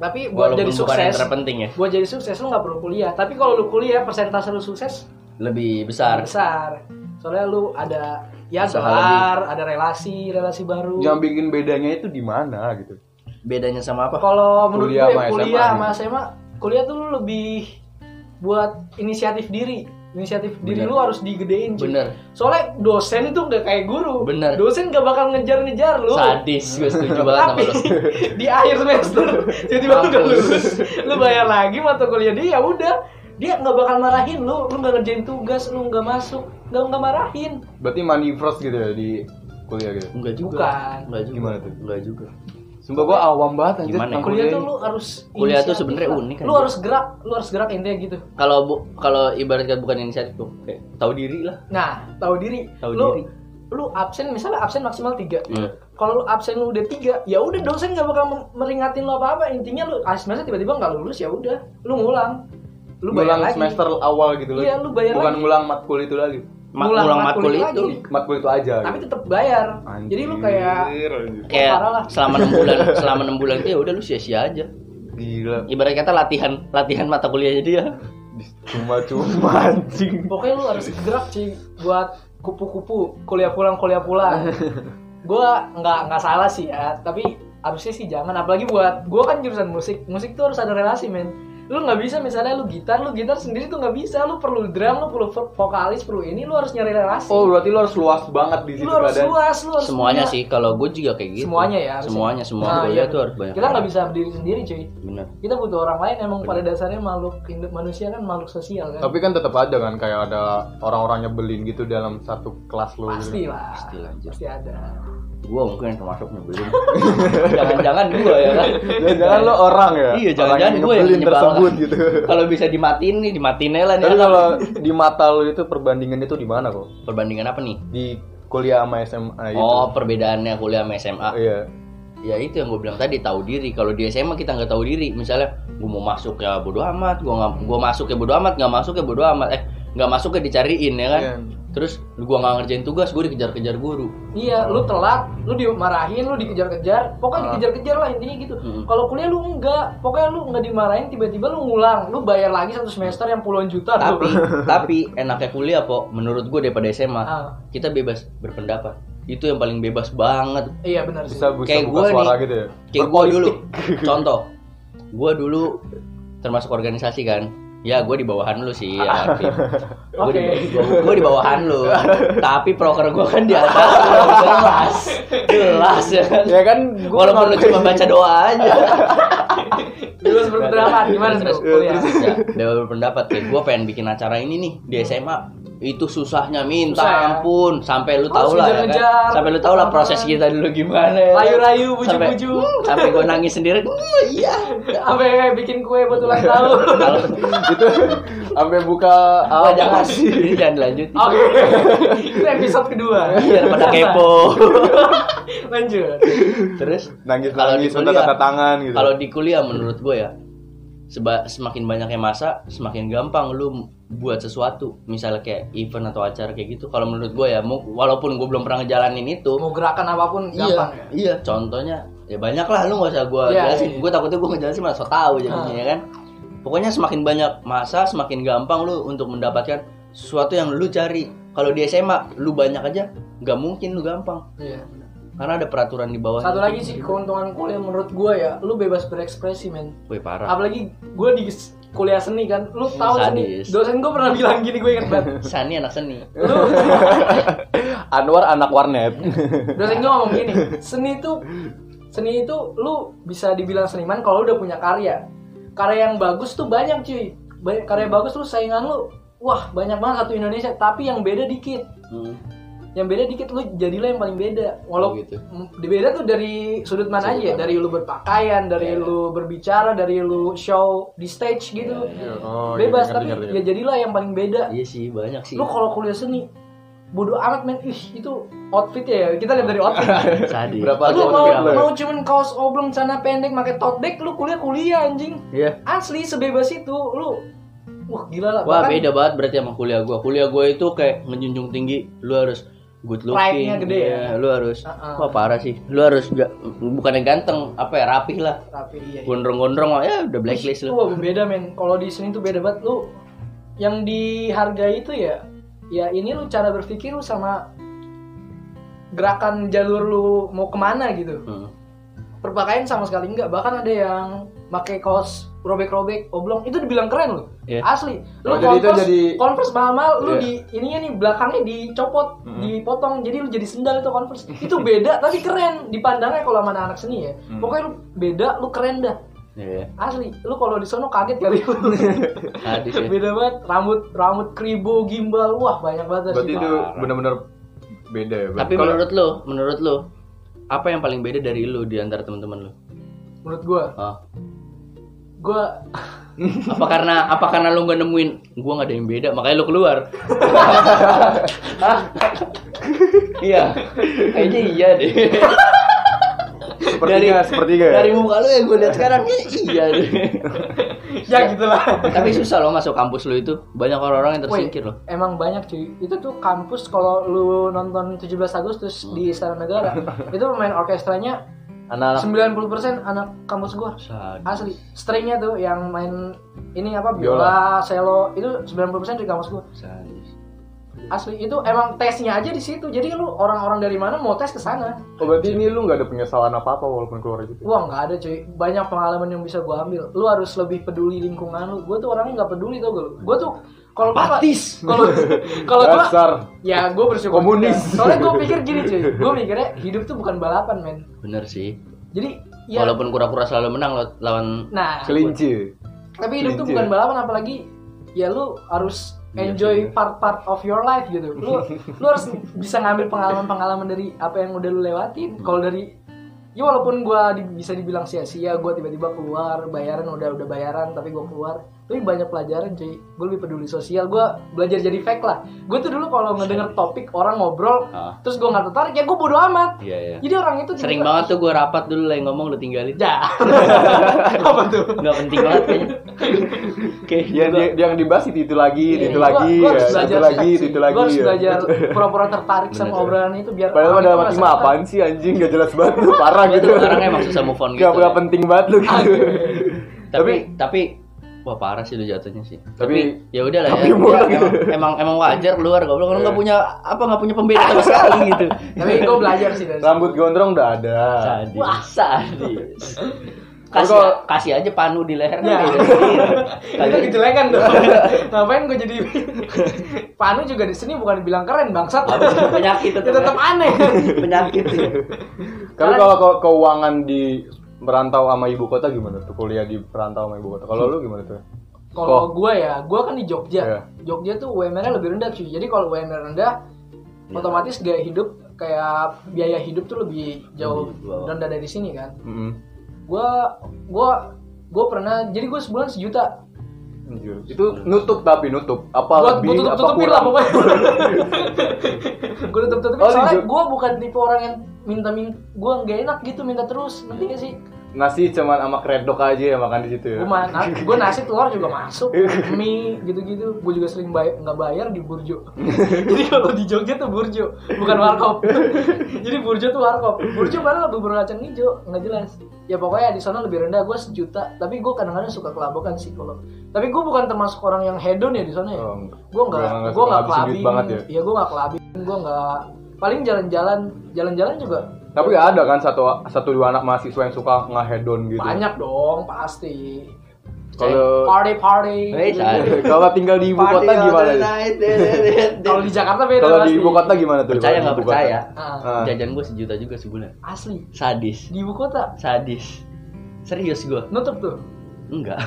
B: Tapi buat
C: Walaupun
B: jadi
C: bukan yang
B: sukses,
C: terpenting ya.
B: buat jadi sukses lu nggak perlu kuliah. Tapi kalau lu kuliah persentase lu sukses
C: Lebih besar.
B: besar. Soalnya lu ada ya
C: Usaha
B: gelar, ada relasi, relasi baru.
A: Yang bikin bedanya itu di mana gitu?
C: Bedanya sama apa?
B: Kalau menurut
A: Kuliah sama SMA
B: gue
A: gitu.
B: kuliah sama SMA, kuliah tuh lu lebih buat inisiatif diri. Inisiatif diri
C: Bener.
B: lu harus digedein cuy.
C: Bener.
B: Soalnya dosen itu nggak kayak guru.
C: Bener.
B: Dosen gak bakal ngejar-ngejar lu.
C: Sadis, gue setuju banget sama
B: Tapi
C: lu.
B: di akhir semester tiba-tiba lu udah
C: Mampus.
B: lulus, lu bayar lagi mata kuliah dia ya udah dia nggak bakal marahin lu, lu nggak ngerjain tugas, lu nggak masuk, nggak nggak marahin.
A: Berarti money first gitu ya di kuliah gitu.
C: Enggak juga.
B: Bukan.
C: Enggak juga.
A: Gimana tuh?
C: Enggak juga.
A: Sumpah gue awam banget anjir.
C: Gimana ya?
A: tentang
B: Kuliah tuh
A: ini.
B: lu harus
C: Kuliah tuh
B: inisiatif
C: sebenarnya
B: lah.
C: unik
B: Lu
C: aja.
B: harus gerak, lu harus gerak intinya gitu.
C: Kalau bu- kalau ibarat kata bukan inisiatif tuh, kayak tahu diri lah.
B: Nah, tahu diri.
C: Tahu
B: lu,
C: diri.
B: Lu absen misalnya absen maksimal tiga.
C: Iya.
B: Kalau lu absen lu udah tiga, ya udah dosen nggak bakal mem- meringatin lu apa apa. Intinya lu ah, semester tiba-tiba nggak lulus ya udah, lu ngulang. Lu bayar
A: ngulang
B: lagi.
A: semester awal gitu loh.
B: Iya, lu bayar
A: Bukan
B: lagi.
A: ngulang matkul itu lagi.
C: Ma-
B: Ngulang
C: ngulang
B: matkul
C: matkul
B: itu
C: itu.
B: lagi.
A: Matkul itu aja.
B: Tapi
A: gitu.
B: tetap bayar. Jadi lu kayak
A: Anjir, anjir.
C: Kayak
B: Ya, parah lah.
C: selama 6 bulan, selama 6 bulan itu ya udah lu sia-sia aja.
A: gila
C: Ibarat kata latihan, latihan mata kuliahnya dia.
A: cuma-cuma anjing.
B: pokoknya lu harus gerak sih buat kupu-kupu kuliah pulang kuliah pulang. gua nggak nggak salah sih ya, tapi harusnya sih jangan apalagi buat gua kan jurusan musik. Musik tuh harus ada relasi, men. Lu nggak bisa misalnya lu gitar, lu gitar sendiri tuh nggak bisa. Lu perlu drum, lu perlu vo- vokalis, perlu ini, lu harus nyari relasi.
A: Oh, berarti lu harus luas banget di situ
B: lu harus
A: keadaan.
B: luas, lu harus
C: gitu, Semuanya
B: punya-
C: sih kalau gue juga kayak gitu.
B: Semuanya ya. harusnya.
C: Semuanya semua
B: Nah,
C: kuliah
B: iya.
C: tuh harus banyak.
B: Kita nggak bisa berdiri sendiri, cuy.
C: Bener.
B: Kita butuh orang lain. Emang pada dasarnya makhluk hidup manusia kan makhluk sosial kan.
A: Tapi kan tetap ada kan kayak ada orang-orang nyebelin gitu dalam satu kelas lu.
B: pasti
A: gitu.
B: lah.
C: Pasti lanjut.
B: Pasti ada.
C: Gue mungkin yang termasuk nyebelin. Jangan-jangan gue ya kan.
A: Jangan-jangan lu orang ya.
C: Iya,
A: Orang
C: jangan-jangan
A: yang
C: gue yang
A: nyebelin
C: menyebalkan.
A: tersebut gitu.
C: Kalau bisa dimatiin nih, dimatiin aja lah nih.
A: Tapi kalau di mata lu itu perbandingan itu di mana kok?
C: Perbandingan apa nih?
A: Di kuliah sama SMA itu.
C: Oh, ah. perbedaannya kuliah sama SMA.
A: Iya.
C: Ya itu yang gue bilang tadi tahu diri. Kalau di SMA kita nggak tahu diri. Misalnya gue mau masuk ya bodo amat, gue nggak gue masuk ya bodo amat, nggak masuk ya bodo amat. Eh nggak masuk ya dicariin ya kan.
A: Iya.
C: Terus gue nggak ngerjain tugas, gue dikejar-kejar guru.
B: Iya,
C: Hmm.
B: lu telat, lu dimarahin, lu dikejar-kejar. Pokoknya dikejar-kejar lah intinya gitu.
C: Ah. Hmm.
B: Kalau kuliah lu enggak, pokoknya lu enggak dimarahin, tiba-tiba lu ngulang, lu bayar lagi satu semester yang puluhan juta tuh.
C: Tapi tapi enaknya kuliah po, menurut gue daripada SMA
B: Ah.
C: kita bebas berpendapat. Itu yang paling bebas banget.
B: Iya benar sih.
A: Bisa bisa
C: Kayak
A: buka
C: gua
A: suara
C: nih.
A: gitu ya.
C: Kayak gue
A: Berpolitik.
C: dulu, contoh, gue dulu termasuk organisasi kan, ya gue di bawahan lu sih, ya, gue di,
B: Oke.
C: gua di bawahan lu, tapi proker gue kan di atas, lu. jelas, jelas ya kan,
A: Ya kan gua
C: walaupun lu
A: ngakuin.
C: cuma baca doa aja,
B: Bebas berpendapat gimana tuh kuliah?
C: ya, bebas berpendapat, kayak gue pengen bikin acara ini nih di SMA, itu susahnya minta
B: Hmm. Susah ya?
C: ampun, sampai lu
B: Harus
C: tau lah, ya
B: ngejar-ngejar.
C: kan? sampai lu tau lah proses kita dulu gimana, ya kan?
B: Rayu-rayu,
C: Sampai-
B: bujuk-bujuk.
C: hmm, sampai gue nangis sendiri, "Hmm, iya,
B: Sampai bikin kue buat ulang tahun.
C: kalau
A: itu Gitu. sampai buka
C: Oh,
A: apa
C: jangan Ini jangan lanjut.
B: Oke. Itu episode kedua.
C: Biar Iya, pada kepo.
B: Lanjut.
C: Terus
A: nangis
C: kalau di
A: nangis minta
C: kuliah-
A: tanda tangan gitu
C: kalau di kuliah menurut gue ya seba- semakin banyaknya masa, semakin gampang lu buat sesuatu. Misalnya kayak event atau acara kayak gitu. Kalau menurut gue ya, mau- walaupun gue belum pernah ngejalanin itu,
B: Mau gerakan apapun gampang ya.
C: iya, iya. Contohnya ya banyak lah lu gak usah gue
B: Iya,
C: jelasin.
B: iya.
C: Gue takutnya gue ngejelasin malah so tau jadinya
B: Ah.
C: ya kan. Pokoknya semakin banyak masa, semakin gampang lu untuk mendapatkan sesuatu yang lu cari. Kalau di SMA, lu banyak aja, nggak mungkin lu gampang.
B: Iya.
C: Karena ada peraturan di bawah.
B: Satu lagi sih keuntungan kuliah menurut gue ya, lu bebas berekspresi men.
C: Wih parah.
B: Apalagi gue di s- kuliah seni kan, lu tahu seni.
C: sadis.
B: Dosen gue pernah bilang gini gue inget banget.
C: Sani anak seni.
B: Lu
A: Anwar anak warnet.
B: dosen gue ngomong gini, seni itu seni itu lu bisa dibilang seniman kalau lu udah punya karya. Karya yang bagus tuh banyak cuy. Banyak karya bagus lu saingan lu, wah banyak banget satu Indonesia. Tapi yang beda dikit.
C: Hmm.
B: yang beda dikit lu jadilah yang paling beda
C: Oh,
B: walau
C: gitu.
B: Mm, di beda tuh dari sudut mana aja
C: Sudut
B: ya.
C: mana.
B: dari lu berpakaian dari
C: Iya.
B: lu berbicara dari lu show di stage gitu
A: Oh,
B: bebas
A: iya,
B: tapi
A: ngerti, ngerti,
B: ya jadilah yang paling beda
C: Iya sih banyak sih.
B: lu kalau kuliah seni bodoh amat men ih itu outfit ya kita lihat dari outfit
C: Sadis.
A: Berapa
B: lu
A: Outfit
B: mau
A: berapa?
B: mau cuman kaos oblong celana pendek pakai tote bag lu kuliah kuliah anjing
C: Iya.
B: asli sebebas itu lu wah gila lah
C: Wah
B: Bahkan
C: beda banget berarti sama kuliah gua. Kuliah gua itu kayak menjunjung tinggi. Lu harus good looking. iya,
B: Pride-nya gede ya?
C: Lu harus.
B: Uh-uh.
C: Wah parah sih. Lu harus ga- bukannya ganteng, apa ya rapih lah.
B: tapi iya, iya.
C: Gondrong-gondrong lah. ya udah blacklist
B: Itu
C: lu.
B: beda men. Kalau di sini tuh beda banget lu. Yang dihargai itu ya ya ini lu cara berpikir lu sama gerakan jalur lu mau kemana gitu.
C: Hmm.
B: Perpakaian sama sekali enggak. Bahkan ada yang pakai kaos robek-robek oblong itu dibilang keren lu.
C: Iya.
B: Asli.
A: Oh,
B: Lu
A: jadi itu
B: konvers
A: jadi-
B: Converse mahal-mahal lu
A: Iya.
B: di ininya nih belakangnya dicopot,
A: Mm-mm.
B: dipotong. Jadi lu jadi sendal itu Converse. itu beda tapi keren dipandangnya kalau sama anak seni ya.
A: Mm.
B: Pokoknya lu beda, lu keren dah.
C: Iya.
B: Asli, lu kalau di sono kaget kali lu.
C: Sadis ya.
B: Beda banget, rambut rambut kribo, gimbal, wah banyak banget dah
A: Berarti
B: situ.
A: itu benar-benar beda ya.
C: Tapi
A: Kalau-
C: menurut lu, menurut lu apa yang paling beda dari lu di antara teman-teman lu?
B: Menurut gua,
C: Ah.
B: gua
C: Apa karena apa karena lu gak nemuin gua nggak ada yang beda, makanya lu keluar. iya. Kayaknya iya deh.
A: sepertiga, sepertiga ya.
C: dari muka lu yang gue lihat sekarang kayaknya iya deh.
B: ya gitulah.
C: tapi susah loh masuk kampus lu itu banyak orang-orang yang tersingkir loh
B: Emang banyak cuy. Itu tuh kampus kalau lu nonton 17 Agustus di Istana Negara, itu pemain orkestranya
A: Anak-anak
B: 90% anak kampus gua.
C: Sadis.
B: Asli, stringnya tuh yang main ini apa
A: Biola.
B: biola, cello itu 90% dari kampus gua.
C: Sadis.
B: Asli itu emang tesnya aja di situ. Jadi lu orang-orang dari mana mau tes ke sana.
A: Oh, berarti ini lu nggak ada penyesalan apa-apa walaupun keluar gitu.
B: Wah nggak ada cuy, banyak pengalaman yang bisa gue ambil. Lu harus lebih peduli lingkungan lu. Gue tuh orangnya nggak peduli tau gue. Gue tuh kalau gua-
C: Apatis.
B: kalau kalau gua-
A: Dasar.
B: ya gue bersyukur.
A: Komunis.
B: juga. Soalnya gue pikir gini cuy, gue mikirnya hidup tuh bukan balapan men.
C: bener sih
B: Jadi ya,
C: walaupun kura-kura selalu menang lo- lawan
B: nah
A: Kelinci.
B: tapi hidup tuh
A: kelinci.
B: bukan balapan apalagi ya lu harus
C: Iya,
B: enjoy part-part of your life gitu. Lu lu harus bisa ngambil pengalaman-pengalaman dari apa yang udah lu
C: Hmm.
B: lewatin. Kalau dari ya walaupun gua di- bisa dibilang sia-sia, gua tiba-tiba keluar, bayaran udah udah bayaran tapi gua keluar. Tapi banyak pelajaran cuy. Gue lebih peduli sosial, gua belajar jadi fake lah. Gue tuh dulu kalau ngedenger topik orang ngobrol,
C: Iya. Ah.
B: terus gua nggak tertarik ya gue bodo amat.
C: iya iya
B: Jadi orang itu
C: sering
B: tiba-tiba-
C: banget tuh gue rapat dulu lah yang ngomong lu tinggalin
B: Ya. apa tuh?
C: nggak penting banget kayaknya oke
A: Ya, dia, dia yang dibahas itu, itu lagi,
B: Iya,
A: itu
B: gua-
A: lagi,
B: gua
A: ya,
B: harus
A: itu
B: belajar
A: lagi,
B: sih.
A: itu, itu lagi.
B: Gua harus
A: ya.
B: belajar pura-pura tertarik sama
C: Bener,
B: obrolan itu biar
A: Padahal
B: orang
A: dalam
B: itu
A: hati
B: merasa
A: mah apaan sih anjing gak jelas banget lu parah
C: Gua
A: gitu.
C: tuh orangnya emang susah move on gitu,
A: Gak, gak
C: ya.
A: penting banget lu gitu.
C: tapi tapi wah parah sih lu jatuhnya sih
A: Tapi-
C: ya udah lah ya,
A: Tapi murah
C: Ya,
A: gitu.
C: emang emang wajar keluar goblok lu nggak punya apa nggak punya pembeda sama sekali gitu
B: tapi gue belajar sih dari
A: Rambut gondrong udah ada.
C: Sadis. Wah, sadis.
A: Tapi
C: Kasih,
A: kalau-
C: kasih aja panu di lehernya.
B: Ya.
C: beda
B: itu
C: sendiri. Iya.
B: gitu. kejelekan tuh ngapain gue jadi Panu juga di sini bukan bilang keren bangsat
C: Habis itu penyakit
B: ya
C: tetap
B: tetap
C: ya.
B: aneh
C: penyakit. ya.
A: Tapi kalau ke- keuangan di merantau sama ibu kota gimana tuh kuliah di perantau sama ibu kota? Kalau lu gimana tuh?
B: kalau gue ya gue kan di Jogja
A: Oh. Iya.
B: Jogja tuh UMR-nya lebih rendah cuy jadi kalau UMR rendah
C: Iya.
B: otomatis gaya hidup kayak biaya hidup tuh lebih jauh
C: Lebih bawah.
B: rendah dari sini kan
A: Mm-mm.
B: gue gue gue pernah jadi gue sebulan sejuta
A: Anjir. Itu nutup tapi nutup. Apa
B: gua
A: lebih
B: tutup
A: apa
B: tutupin lah
A: kurang?
B: pokoknya gue tutup tutupin
A: Oh, di
B: soalnya
A: Jog-
B: gue bukan tipe orang yang minta minta gue nggak enak gitu minta terus nanti gak sih
A: Nasi cuman sama kredok aja ya makan di situ ya.
B: gue mana gue nasi telur juga masuk mie gitu gitu gue juga sering bayar nggak bayar di burjo jadi kalau di Jogja tuh burjo bukan warkop jadi burjo tuh warkop burjo padahal bubur kacang hijau nggak jelas ya pokoknya di sana lebih rendah gue sejuta tapi gue kadang-kadang suka kelabakan sih kalau tapi gue bukan termasuk orang yang hedon ya di sana ya
A: Oh,
B: gue nggak
A: nggak- nggak
B: gue nggak
A: habisin duit
B: kelabing
A: banget ya?
B: ya gue nggak kelabing gue nggak paling jalan-jalan jalan-jalan juga
A: Tapi nggak ada kan satu satu dua anak mahasiswa yang suka ngehedon gitu.
B: banyak dong pasti
A: Kalau-
B: party party
C: Eh, cari.
A: Kalau tinggal di ibu kota gimana? Dik?
B: kalau di Jakarta beda
A: Kalau di
B: pasti.
A: ibu kota gimana tuh? Kalau di
C: percaya nggak
A: ibu kota?
C: percaya
A: Ah.
B: Ah,
C: jajan gue sejuta juga sebulan
B: asli
C: sadis
B: di ibu kota
C: sadis serius gue
B: nutup tuh
C: enggak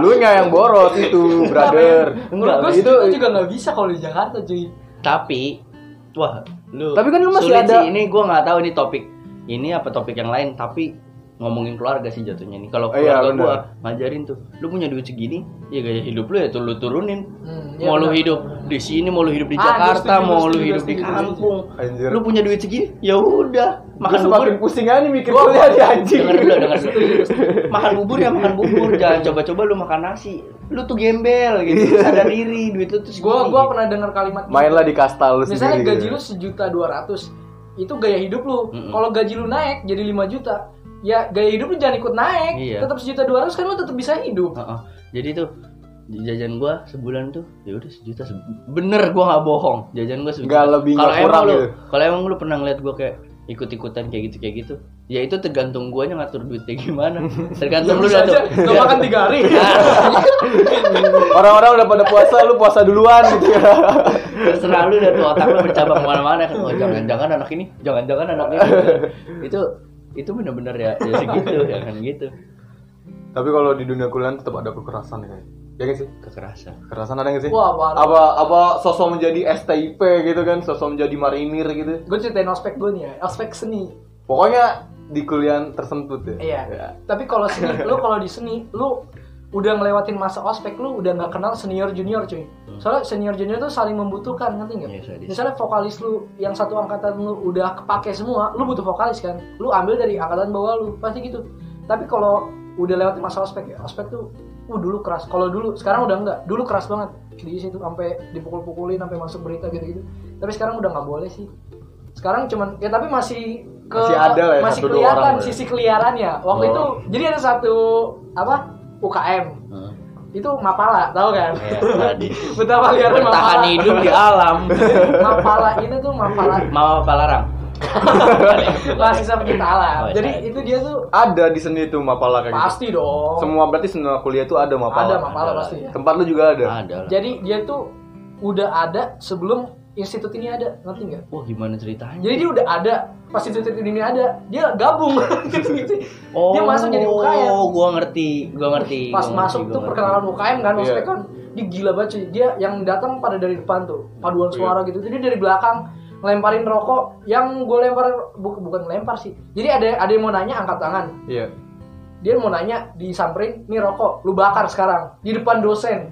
A: Lu nggak yang boros itu, brother.
B: Menurut
C: Enggak,
B: gue
A: itu-
B: sejuta juga nggak bisa kalau di Jakarta cuy
C: tapi wah lu
A: Tapi kan lu masih
C: sulit
A: ada-
C: sih. ini gue nggak tahu ini topik ini apa topik yang lain tapi ngomongin keluarga sih jatuhnya nih
A: Oh,
C: kalau
A: iya,
C: keluarga
A: benar.
C: gue ngajarin tuh lu punya duit segini ya gaya hidup lu ya tuh lu turunin
B: Hmm, iya
C: mau lu
B: benar.
C: hidup di sini mau lu hidup di
B: Ah, gue
C: Jakarta
B: setuju, gue
C: mau lu
B: setuju,
C: hidup
B: gue
C: di
B: setuju, gue
C: kampung
A: Anjir.
C: lu punya duit segini ya udah
A: Makan
C: makan bubur
A: Iya. semakin pusing aja nih mikir kuliah di anjing.
C: Dengar dulu, dengar dulu. Makan bubur ya makan bubur, jangan coba-coba lu makan nasi. Lu tuh gembel
A: Iya.
C: gitu, lu sadar diri, duit lu tuh
B: gue
C: segini.
B: gue pernah dengar kalimat gitu.
A: Mainlah di gitu ya. kastal lu
B: misalnya
A: sendiri.
B: gaji lu sejuta dua ratus itu gaya hidup lu
C: Mm-mm.
B: kalau gaji lu naik jadi 5 juta ya gaya hidup lu jangan ikut naik
C: Iya.
B: tetap sejuta dua ratus kan lu tetap bisa hidup
C: Heeh. Jadi tuh jajan gua sebulan tuh ya udah sejuta se- bener gua nggak bohong jajan gua sejuta
A: Nggak lebih,
C: kalau
A: nggak
C: emang
A: kurang
C: lu
A: gitu.
C: kalau emang lu pernah ngeliat gua kayak ikut-ikutan kayak gitu kayak gitu ya itu tergantung guanya ngatur duitnya gimana tergantung lu
B: Ya bisa aja
C: tuh
B: nggak makan tiga hari
A: Orang-orang udah pada puasa, lu puasa duluan gitu ya.
C: terserah lu dan tuh otak lu bercabang kemana-mana kan oh jangan-jangan anak ini jangan-jangan anak ini itu itu bener-bener ya, ya segitu ya kan gitu
A: Tapi kalau di dunia kuliah tetap ada kekerasan ya. Ya nggak sih?
C: kekerasan
A: Kekerasan ada nggak sih?
B: Wah, parah.
A: apa apa sosok menjadi STIP gitu kan, sosok menjadi marinir gitu.
B: gue ceritain ospek gue nih ya ospek seni
A: Pokoknya di kuliah tersentut ya.
B: iya
A: Ya.
B: tapi kalau seni lu kalau di seni lu udah ngelewatin masa ospek lu udah nggak kenal senior junior cuy
A: Hmm.
B: soalnya senior junior tuh saling membutuhkan ngerti nggak
C: Iya, sadis.
B: misalnya vokalis lu yang satu angkatan lu udah kepake semua lu butuh vokalis kan lu ambil dari angkatan bawah lu pasti gitu tapi kalau udah lewatin masa ospek ya ospek tuh uh dulu keras kalau dulu sekarang udah enggak dulu keras banget di situ sampai dipukul-pukulin sampai masuk berita gitu-gitu tapi sekarang udah nggak boleh sih sekarang cuman ya tapi masih ke
A: Masih ada lah ya,
B: masih
A: satu dua
B: kelihatan
A: orang lah ya.
B: sisi keliarannya waktu
A: Oh.
B: itu jadi ada satu apa UKM
C: Heeh.
B: itu mapala tahu kan
C: ya sadis
B: betapa liarnya
C: bertahan
B: mapala
C: hidup di alam
B: mapala ini tuh mapala
C: mama palarang
B: mahasiswa pecinta alam
C: Oh, iya.
B: jadi itu dia tuh
A: Ada di seni tuh mapala kayak gitu.
B: pasti dong
A: Semua berarti semua kuliah tuh ada mapala.
B: ada mapala
C: Ada.
B: pasti ya.
A: Tempat lu juga ada.
C: ada lah
B: jadi dia tuh udah ada sebelum institut ini ada ngerti nggak
C: wah gimana ceritanya
B: jadi dia udah ada pas institut ini ada dia gabung gitu gitu dia masuk jadi UKM
C: oh gua ngerti gua ngerti
B: pas
C: gua ngerti,
B: masuk
C: gua
B: tuh
C: ngerti.
B: perkenalan UKM kan maksudnya
A: Iya.
B: kan dia gila banget cuy dia yang datang pada dari depan tuh paduan
A: Iya.
B: suara gitu jadi dari belakang ngelemparin rokok yang gue lempar bu- bukan lempar sih jadi ada ada yang mau nanya angkat tangan
A: Iya.
B: dia mau nanya disamperin nih rokok lu bakar sekarang di depan dosen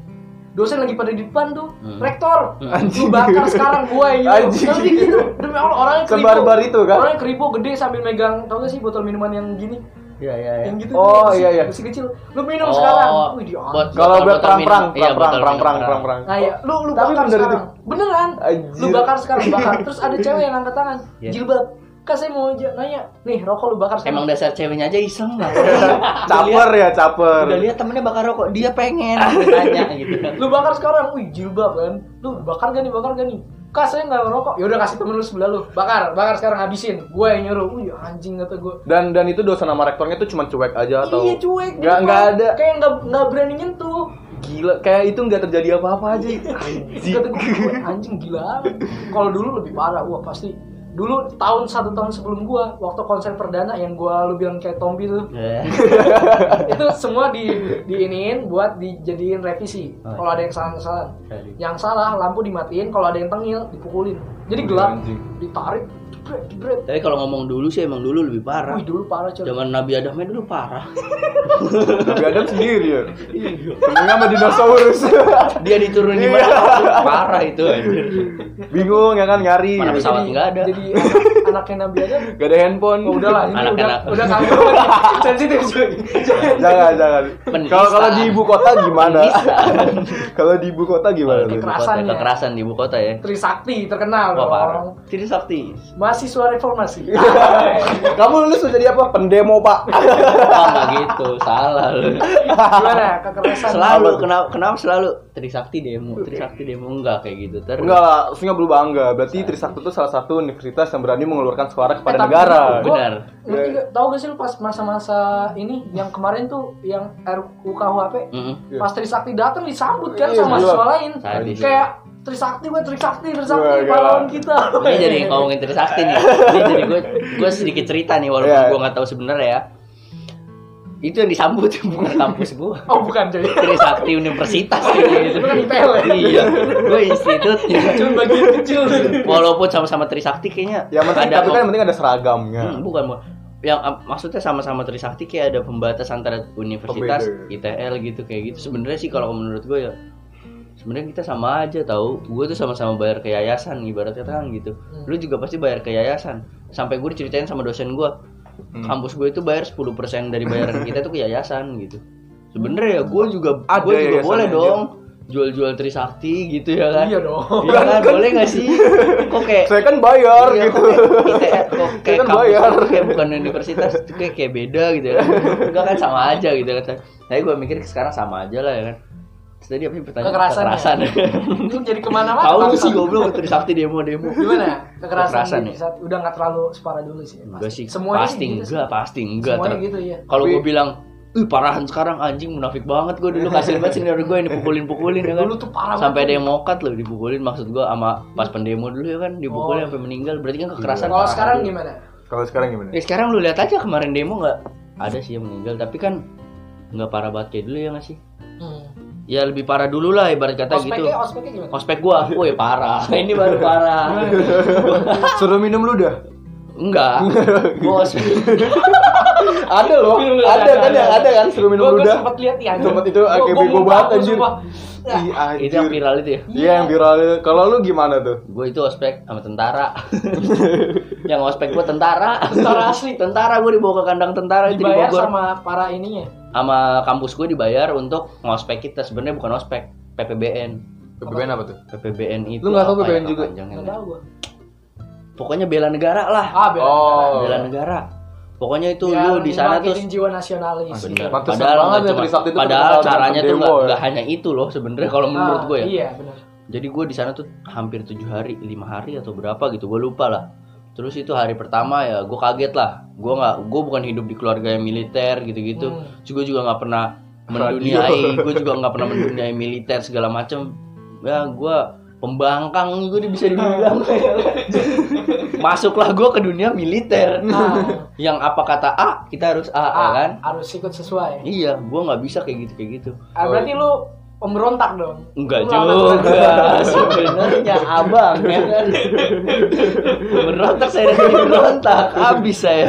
B: dosen lagi pada di depan tuh
C: Hmm.
B: rektor
A: Anjing.
B: lu bakar sekarang gua yang
A: Anjing.
B: tapi dia gitu demi allah orangnya keribu
A: Sebarbar itu, kan?
B: orangnya keribu gede sambil megang tau gak sih botol minuman yang gini
C: ya ya ya
B: yang gitu
A: Oh,
B: besi-
A: iya, iya.
B: besi kecil lu minum sekarang Wih, dia
C: Oh. buat
A: Kalau
C: botol-
A: buat
C: botol
A: perang-perang, perang-perang,
C: minum. Iya, botol minum
A: perang-perang, perang-perang.
B: Nah, iya. lu lu
A: Tapi
B: bakar
A: bener itu.
B: sekarang. Beneran?
A: Anjir.
B: Lu bakar sekarang, bakar. Terus ada cewek yang angkat tangan,
C: Iya.
B: jilbab. Kak saya mau aja nanya, nih rokok lu bakar sekarang.
C: Emang dasar ceweknya aja iseng lah.
B: Iya.
A: Caper ya, caper.
C: Udah lihat temennya bakar rokok, dia pengen tanya gitu.
B: lu bakar sekarang, wih jilbab kan. Lu bakar gak nih, bakar gak nih? Kak saya nggak ngerokok. Ya udah kasih temen lu sebelah lu. Bakar, bakar sekarang habisin. Gue yang nyuruh. Wih anjing kata gue.
A: Dan dan itu dosen sama rektornya tuh cuma cuek aja atau
B: Iya cuek.
A: Nggak
B: gitu,
A: nggak
B: Pak.
A: ada.
B: Kayak nggak nggak berani nyentuh.
A: Gila, kayak itu nggak terjadi apa-apa aja. Anjing.
B: Kata gue, "Wah, anjing gila. Kalau dulu lebih parah, wah pasti. Dulu tahun satu tahun sebelum gua waktu konser perdana yang gua lu bilang kayak Tombi tuh.
C: Eh,
B: itu semua di diinin buat dijadiin revisi
C: Oh, iya.
B: kalau ada yang salah kesalahan
C: Jadi.
B: yang salah lampu dimatiin kalau ada yang tengil dipukulin jadi gelap
A: Anjing.
B: ditarik jebret, jebret.
C: Tapi kalau ngomong dulu sih emang dulu lebih parah.
B: wih dulu parah coy
C: Zaman Nabi Adamnya dulu parah.
A: Tapi Adam sendiri ya.
B: Iya,
A: Temennya sama dinosaurus.
C: Dia diturunin di mana? parah itu anjir.
A: Bingung ya kan nyari.
C: Mana pesawat nggak ada.
B: jadi anak, anak-anaknya Nabi Adam
A: Gak ada handphone.
B: Oh, udah lah, ini udah,
C: Anak-anak.
B: udah kamu sensitif cuy. Jangan.
A: jangan jangan.
C: Penista.
A: Kalau kalau di ibu kota gimana? kalau di ibu kota gimana?
B: Oke,
A: tuh?
B: keras.
C: Kekerasan,
B: Kekerasan ya.
C: kekerasan di ibu kota ya.
B: Trisakti terkenal
C: Wah, parah.
B: dong.
C: Ciri sakti.
B: Mahasiswa reformasi.
A: Kamu lulus mau jadi apa? Pendemo pak.
C: Wah, nggak gitu, salah lu.
B: Gimana kekerasan?
C: Selalu kenapa kenapa selalu Trisakti demo, Trisakti demo enggak kayak gitu. Terus
A: Enggak lah, harusnya nggak perlu bangga. Berarti Trisakti itu salah satu universitas yang berani mengeluarkan suara
B: Eh,
A: kepada
B: tapi
A: negara.
B: gua- gua-
C: Benar.
B: Lu tiga, tahu gak sih lu pas masa-masa ini yang kemarin tuh yang RUKHP
C: Mm-mm.
B: pas Trisakti datang disambut kan
A: Iya, Iya,
B: sama
A: gila.
B: mahasiswa lain.
C: Sadis.
B: Kayak Trisakti gue Trisakti
A: Wah,
B: Trisakti
A: gila.
B: pahlawan kita.
C: Ini jadi ngomongin Trisakti nih. Ini jadi gue gue sedikit cerita nih walaupun
A: Iya.
C: gue nggak tahu sebenarnya ya. Itu yang disambut bukan kampus gue.
B: Oh bukan cuy.
C: Trisakti Universitas gitu.
B: Itu kan IPL ya.
C: Iya, gue institutnya.
B: Cuma bagian kecil.
C: Iya. Walaupun sama-sama Trisakti kayaknya
A: Yang penting,
C: ada
A: tapi kan
C: pem-
A: yang penting ada seragamnya.
C: Hmm, bukan bukan. Yang ah, maksudnya sama-sama Trisakti kayak ada pembatas antara universitas,
A: Pembeda.
C: ITL gitu kayak gitu. Sebenarnya sih kalau menurut gue ya sebenarnya kita sama aja tahu. Gue tuh sama-sama bayar ke yayasan ibarat kata kan gitu. Lu juga pasti bayar ke yayasan. Sampai gue diceritain sama dosen gue, kampus gue itu bayar 10% dari bayaran kita tuh ke yayasan gitu. Sebenernya ya gue juga
A: Ada
C: gue juga
A: yayasan
C: boleh
A: aja.
C: dong jual-jual Trisakti gitu ya kan.
B: Iya dong.
C: Iya kan, boleh gak sih? Kok kayak
A: Saya kan bayar
C: Iya,
A: gitu.
C: kok kayak- kok kayak
A: Kan
C: kampus
A: bayar.
C: tuh kayak bukan universitas itu kayak kayak beda gitu ya enggak kan sama aja gitu kan tapi gue mikir sekarang sama aja lah ya kan Terus tadi apa sih pertanyaan
B: Kekerasan ya?
C: kekerasan
B: Lu jadi kemana-mana.
C: tahu lu
B: bangsa.
C: sih goblok itu sakti demo demo
B: Gimana? Kekerasan,
C: Kekerasan
B: di
C: ya?
B: saat udah nggak terlalu separah dulu sih.
C: enggak sih
B: Semuanya
C: pasti
B: gitu sih.
C: enggak pasti enggak
B: Semuanya
C: Ter-
B: gitu ya.
C: kalau
A: Tapi-
C: gue bilang Ih parahan sekarang anjing munafik banget gue dulu kasihan banget senior gue yang dipukulin-pukulin ya kan.
B: Dulu tuh parah
C: Sampai
B: banget.
C: ada yang mokat loh dipukulin maksud gue sama pas pendemo dulu ya kan
B: Oh.
C: dipukulin sampai meninggal berarti kan kekerasan.
B: Kalau
C: parah
B: sekarang
C: dulu.
B: gimana?
A: Kalau sekarang gimana?
C: Ya sekarang lu lihat aja kemarin demo nggak ada sih yang meninggal tapi kan nggak parah banget kayak dulu ya nggak sih?
B: Hmm.
C: Ya lebih parah dulu lah ibarat kata gitu.
B: Ospeknya, ospeknya gimana?
C: Ospek gua, woi parah. Ini baru parah.
A: Suruh minum lu dah.
C: Enggak. Gua ospek.
A: Ada loh.
B: Minum ludah,
A: Ada kan yang
B: ada, ada.
A: ada kan suruh minum
B: Gua-
A: lu
B: gua
A: dah.
B: sempet lihat ya. anjir.
A: Sempet itu
B: Gua-
A: kayak
B: gua
A: bego
B: muntah,
A: banget,
B: gua
A: anjir.
B: sumpah. Ya.
A: Iya
C: Itu yang
A: anjir.
C: viral itu ya.
A: Iya yang viral. Kalau lu gimana tuh?
C: Gue itu ospek sama tentara. yang ospek gua tentara. Tentara asli. Tentara gue dibawa ke kandang tentara itu di
B: Dibayar
C: Bogor.
B: sama para ininya.
C: Sama kampus gue dibayar untuk ngospek kita sebenarnya bukan ospek, PPBN.
A: PPBN apa tuh?
C: PPBN itu
A: Lu nggak tahu
C: apa ya
A: PPBN juga?
C: kepanjangannya?
B: Nggak tahu gua.
C: Pokoknya bela negara lah.
B: Ah, bela.
A: Oh. Ya,
C: bela negara. Pokoknya itu lu di sana tuh
B: jiwa nasionalis.
C: Ah,
A: Pantesan
C: Bener.
A: banget
C: Padahal, nggak
A: ya
C: cuma-
A: Trisakti itu
C: padahal
A: terkenal
C: caranya
A: dengan
C: tuh
A: demo
C: nggak
A: ya.
C: nggak hanya itu loh sebenarnya kalau menurut
B: Ah,
C: gue ya.
B: Iya, benar.
C: Jadi gue di sana tuh hampir tujuh hari, lima hari atau berapa gitu, gue lupa lah. Terus itu hari pertama ya gue kaget lah. Gue nggak, gue bukan hidup di keluarga yang militer gitu-gitu.
B: Hmm.
C: Terus gue juga nggak pernah menduniai, gue juga nggak pernah menduniai militer segala macem. Ya gue pembangkang gue bisa dibilang. Masuklah gue ke dunia militer.
B: Ah,
C: yang apa kata A kita harus A, ya
B: ah,
C: kan
B: harus ikut sesuai.
C: iya gua nggak bisa kayak gitu kayak gitu
B: Ah, berarti lu pemberontak dong.
C: enggak
B: Lu
C: juga sebenarnya abang ya kan berontak saya dari berontak habis saya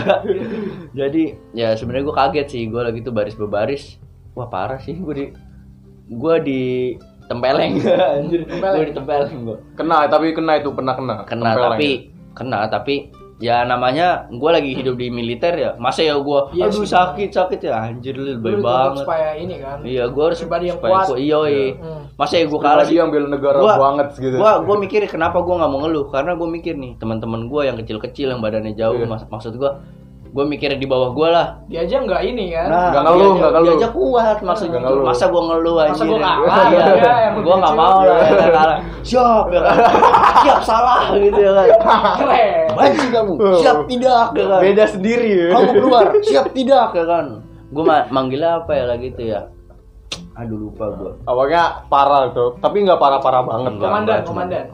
C: jadi ya sebenarnya gua kaget sih gua lagi tuh baris berbaris wah parah sih gua di gua di tempeleng anjir gua di tempeleng gua
A: Kena, tapi kena itu pernah kena.
C: kena
A: Tempeleng. ya?
C: tapi kena tapi ya namanya gue lagi hidup di militer ya masa ya gue
B: Iya
C: aduh
B: sih.
C: sakit sakit ya anjir
B: Lu
C: lu lebay
B: dituntut
C: banget
B: supaya ini kan.
C: iya gue harus
B: pribadi yang
C: supaya
B: kuat.
C: gua- iya iya.
B: Hmm.
C: masa ya gue kalah
A: Pribadi
C: sih
A: yang bela negara
C: Gua-
A: banget gitu.
C: gue gue mikir kenapa gue nggak mau ngeluh karena gue mikir nih teman-teman gue yang kecil-kecil yang badannya jauh
A: Iya.
C: mas- maksud gue gue mikir di bawah gue lah
B: Dia aja nggak ini kan.
A: Nggak ngeluh,
C: dia aja-
A: nggak ngeluh.
C: dia aja kuat maksudnya.
A: Nggak ngeluh.
C: Masa gua ngeluh aja.
B: Masa gua kalah,
C: Iya,
B: ya, yang
C: gua nggak
B: kecil.
C: mau lah ya, kan, kalah. Siap ya kan. Siap salah gitu ya kan.
B: Keren.
C: Banci kamu. Siap tidak ya kan.
A: Beda sendiri ya.
C: Kamu keluar. Siap tidak ya kan. Gua ma- manggilnya apa ya lagi tuh ya. Aduh lupa gua.
A: Awalnya parah tuh, tapi nggak parah-parah banget.
C: Enggak.
B: Komandan,
C: Cuman-
B: komandan.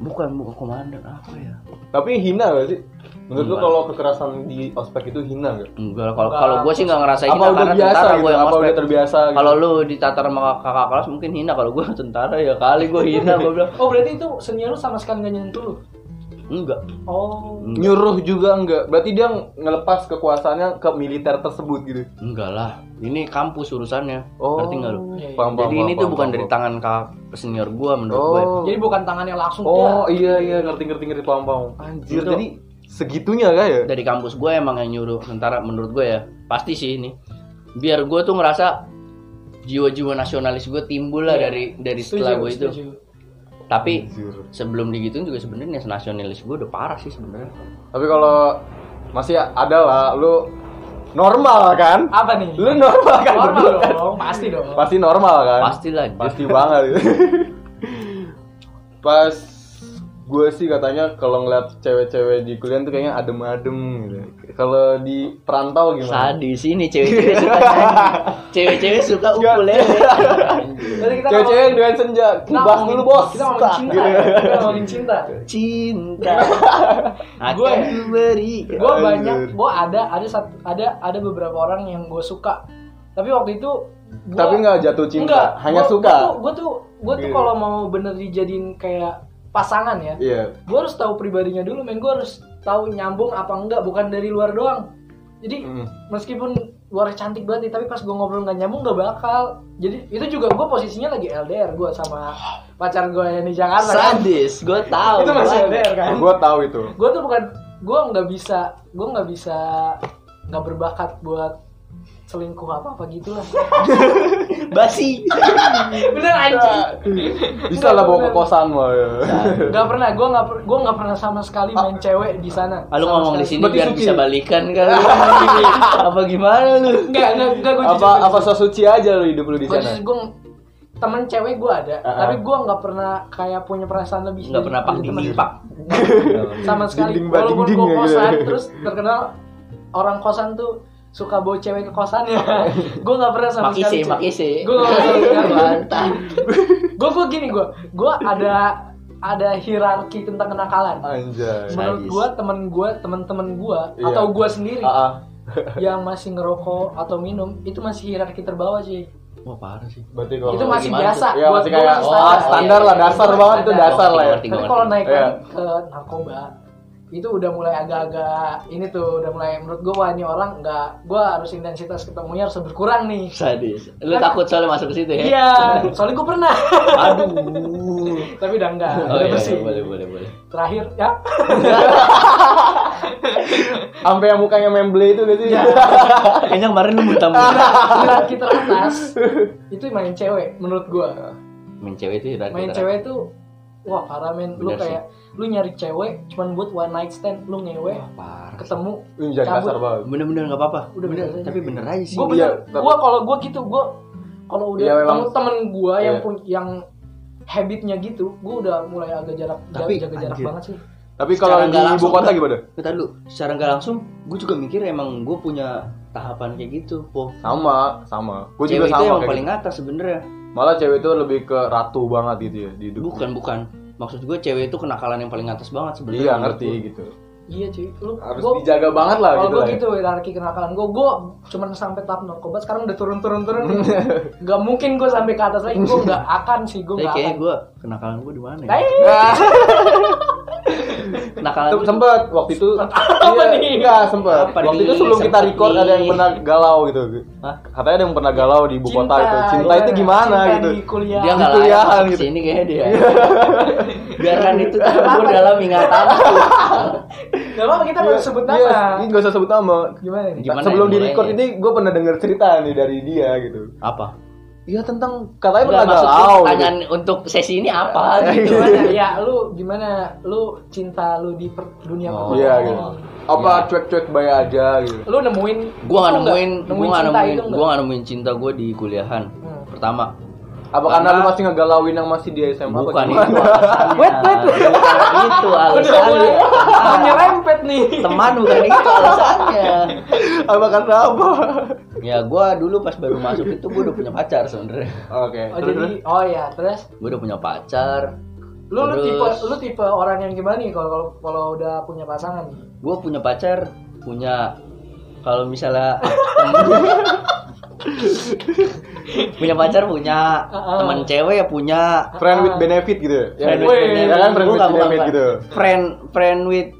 C: Bukan bukan komandan apa ya.
A: Tapi hina gak sih? Menurut lu
C: Enggak.
A: kalau kekerasan di ospek itu hina gak?
C: Enggak lah, kalau
B: Enggak.
C: kalau gua sih nggak ngerasain
A: Apa udah
C: karena
A: biasa
C: tentara
A: gitu?
C: gua yang
A: Apa
C: ospek.
A: udah terbiasa gitu?
C: Kalau lu ditatar sama kakak kelas mungkin hina kalau gua tentara ya kali gua hina gua bilang
B: Oh berarti itu senior lu sama sekali nggak nyentuh lu?
C: enggak.
B: Oh.
A: nyuruh juga enggak. Berarti dia ngelepas kekuasaannya ke militer tersebut gitu.
C: Enggak lah, ini kampus urusannya.
A: Oh.
C: Ngerti enggak lu?
B: Iya, iya.
A: Paham, paham,
C: Jadi ini
A: paham,
C: tuh
A: paham,
C: bukan
A: paham.
C: dari tangan kakak senior gua ya. menurut gue.
A: Oh.
B: Jadi bukan tangannya langsung
A: Oh
B: dia.
A: iya iya ngerti ngerti ngerti paham paham. Anjir
C: Itu-
A: jadi segitunya kah ya
C: dari kampus gue emang yang nyuruh sementara menurut gue ya pasti sih ini biar gue tuh ngerasa jiwa-jiwa nasionalis gue timbul lah
B: Iya.
C: dari dari
B: Setuju,
C: setelah gue itu
B: setuju.
C: tapi
A: Anjir.
C: sebelum digituin juga sebenarnya nasionalis gue udah parah sih sebenarnya
B: Kan?
A: tapi kalau masih ada lah lu normal kan
B: Apa nih?
A: lu normal kan
B: Normal
A: berdua kan?
B: dong, pasti dong.
A: pasti normal kan
C: pastilah
A: pasti banget itu. pas gue sih katanya kalau ngeliat cewek-cewek di kuliah tuh kayaknya adem-adem gitu kalau di perantau gimana
C: sadis ini cewek-cewek suka nyanyi. cewek-cewek suka ukulele
B: Berarti kita
A: cewek-cewek
B: ngomongin-
A: dengan senja
B: kita
A: kibas
B: ngomongin-
A: dulu bos
B: Kita ngomongin
A: Tak,
B: cinta.
A: gitu.
B: ya. Kita ngomongin cinta.
C: cinta
B: Gue-
C: akan kuberi
B: gue
A: Anjir.
B: banyak gue ada ada satu ada ada beberapa orang yang gue suka tapi waktu itu gua-
A: Tapi nggak jatuh cinta,
B: Nggak,
A: hanya
B: gua-
A: suka.
B: gue tuh gue tuh
A: Iya.
B: kalau mau bener dijadiin kayak pasangan ya
A: iya
B: gue harus tahu pribadinya dulu men gue harus tahu nyambung apa enggak bukan dari luar doang jadi
A: Mm.
B: meskipun luar cantik banget nih, tapi pas gue ngobrol nggak nyambung nggak bakal jadi itu juga gue posisinya lagi LDR gue sama pacar gue yang di Jakarta kan?
C: sadis gue tahu
B: itu masih
C: Gua-
B: LDR kan
A: gue tahu itu
B: gue tuh bukan gue nggak bisa gue nggak bisa nggak berbakat buat selingkuh apa apa gitu lah
C: basi
B: bener anjing
A: bisa lah bawa ke kosan lo ya.
B: nggak pernah gue nggak per- gua nggak pernah sama sekali main cewek di sana
C: Ah, lu
B: Sama
C: ngomong di
B: sekali.
C: sini
A: Berarti
C: biar
A: suci.
C: bisa balikan kan lu? apa gimana lu
B: nggak nggak nggak gue
A: apa apa sosuci aja lo hidup lu di
B: gue
A: sana
B: gue temen cewek gue ada
A: Ah, ah.
B: tapi gue nggak pernah kayak punya perasaan lebih
C: nggak
B: dari-
C: pernah pak
B: dari temen.
C: dinding pak
B: sama sekali
A: Dinding bat
B: walaupun
A: dinding
B: gue
A: ya, gitu.
B: kosan terus terkenal orang kosan tuh suka bawa cewek ke kosannya gue nggak pernah sama
C: pak isi
B: sekali
C: pak isi
B: gue
C: Iya, mantap
B: gue gue gini gue gue ada ada hierarki tentang kenakalan
A: Oh, anjay
B: menurut
C: Sadis.
B: gue temen gue temen-temen gue
A: Iya.
B: atau gue sendiri
A: Ah, ah.
B: yang masih ngerokok atau minum itu masih hierarki terbawah sih
C: wah parah sih
A: berarti kalau
B: itu masih
C: gimana
B: biasa
A: ya
B: buat
A: masih
B: gua
A: kayak
B: masih
A: wah,
C: standar.
A: standar lah
C: Iya, iya,
A: dasar
B: iya.
A: banget itu
B: Standar.
A: dasar lah ya
C: Ngerti,
B: tapi
C: ngerti.
B: kalau naik
A: Iya.
B: ke narkoba itu udah mulai agak-agak ini tuh udah mulai menurut gue wah ini orang nggak gue harus intensitas ketemunya harus berkurang nih
C: sadis lu takut soalnya masuk ke situ ya
B: Kan? iya soalnya gue pernah
C: aduh
B: tapi udah enggak
C: oh
B: udah
C: iya
B: bersih
C: boleh boleh boleh
B: terakhir ya
A: sampai yang mukanya memble itu gitu
C: kayaknya kemarin lu muntah-muntah
B: hierarki teratas itu main cewek menurut gue
A: Nah,
C: main cewek itu hierarki
B: main
C: teratas.
A: kan.
B: cewek tuh wah parah men lu
C: Bener sih.
B: kayak lu nyari cewek cuman buat one night stand lu ngewe
C: Wah, parah
B: ketemu
A: Ini jangan
B: Cabut.
A: kasar banget
C: bener-bener nggak apa-apa
B: Udah
C: Bener,
B: bener aja.
C: tapi bener aja sih
B: gue
A: Iya,
B: bener
A: tapi-
B: gue kalau gue gitu gue kalau udah
A: Iya, memang.
B: temen temen gue yang
A: Iya.
B: pun yang habitnya gitu gue udah mulai agak jarak jaga,
C: Tapi,
B: jaga jarak
C: anjir.
B: banget sih
A: tapi kalau di
C: Secara nggak
A: ibu
C: langsung
A: kota
C: tuh.
A: gimana
C: Bentar dulu, secara nggak langsung gue juga mikir emang gue punya tahapan kayak gitu po
A: sama sama gue juga
C: cewek itu
A: sama
C: yang
A: kayak
C: paling
A: gitu.
C: atas sebenarnya
A: malah cewek itu lebih ke ratu banget gitu ya di hidup
C: bukan bukan maksud gue cewek itu kenakalan yang paling atas banget sebenarnya
A: iya
C: menurut
A: ngerti
C: gua.
A: gitu
B: iya cuy lu
A: harus
B: gua-
A: dijaga banget lah
B: kalau
A: gitu
B: gue
A: lah ya.
B: gitu hierarki kenakalan gue gue cuman sampai tahap narkoba sekarang udah turun turun turun nggak mungkin gue sampai ke atas lagi gue nggak akan sih gue
C: Tapi
B: nggak
C: kayaknya
B: akan
C: gue kenakalan gue di mana ya?
B: Nah,
A: Nah,
C: Kenakalan
A: sem-
C: gua-
A: sempet waktu itu
B: Apa
A: iya,
B: nih?
A: enggak sempet
C: Apa
A: waktu
C: nih?
A: itu sebelum kita
C: Sempet
A: record
C: nih.
A: ada yang pernah galau gitu
C: Hah?
A: katanya ada yang pernah galau di ibu kota itu cinta itu
B: gimana?
A: gimana
B: Cinta
A: gitu
B: di kuliah
C: dia nggak
A: Di
C: layak
A: kuliahan
C: masuk
A: gitu.
C: sini kayaknya dia. Biarkan itu terkubur dalam ingatan.
B: Gak apa-apa kita baru sebut nama.
A: Iya, ini nggak usah sebut nama
B: Gimana nih?
C: Gimana
A: sebelum
C: ya
A: di record
C: mulainya?
A: ini gue pernah denger cerita nih dari dia gitu
C: Apa?
A: Iya tentang katanya
C: Nggak,
A: pernah
C: maksud gua
A: galau gitu.
C: pertanyaan untuk sesi ini apa? gitu.
B: Gimana? ya lu gimana? Lu cinta lu di per- dunia
C: Oh. Iya.
B: pertemanan.
A: Iya gitu. Apa cuek-cuek bay aja gitu.
B: Lu nemuin
C: Gue nggak
B: itu
C: nemuin, gue nggak
B: cinta
C: nemuin,
B: itu
C: gue nggak nemuin cinta gue di kuliahan.
B: Hmm.
C: Pertama,
A: Apa karena lu masih ngegalauin yang masih di SMA apa
C: bukan itu
A: gimana?
C: alasannya. Bukan itu
B: Udah mulai
C: alasannya.
B: Tangannya rempet nih.
C: Teman bukan itu alasannya.
A: apa karena apa?
C: Ya gue dulu pas baru masuk itu gue udah punya pacar sebenarnya.
A: Oke.
B: Oh
A: terus-
B: jadi oh ya, terus
C: Gue udah punya pacar.
B: lu, lu
C: Terus.
B: tipe lu tipe orang yang gimana nih kalau kalau- kalau udah punya pasangan nih?
C: gue punya pacar punya kalau misalnya punya pacar punya
B: Heeh.
C: teman cewek ya punya
A: terus friend with benefit gitu. ya?
C: friend
A: Ya,
C: with
A: ya
C: benefit.
A: kan friend Ya. with
C: Bukan, bukan,
A: benefit
C: bukan.
A: gitu.
C: friend friend with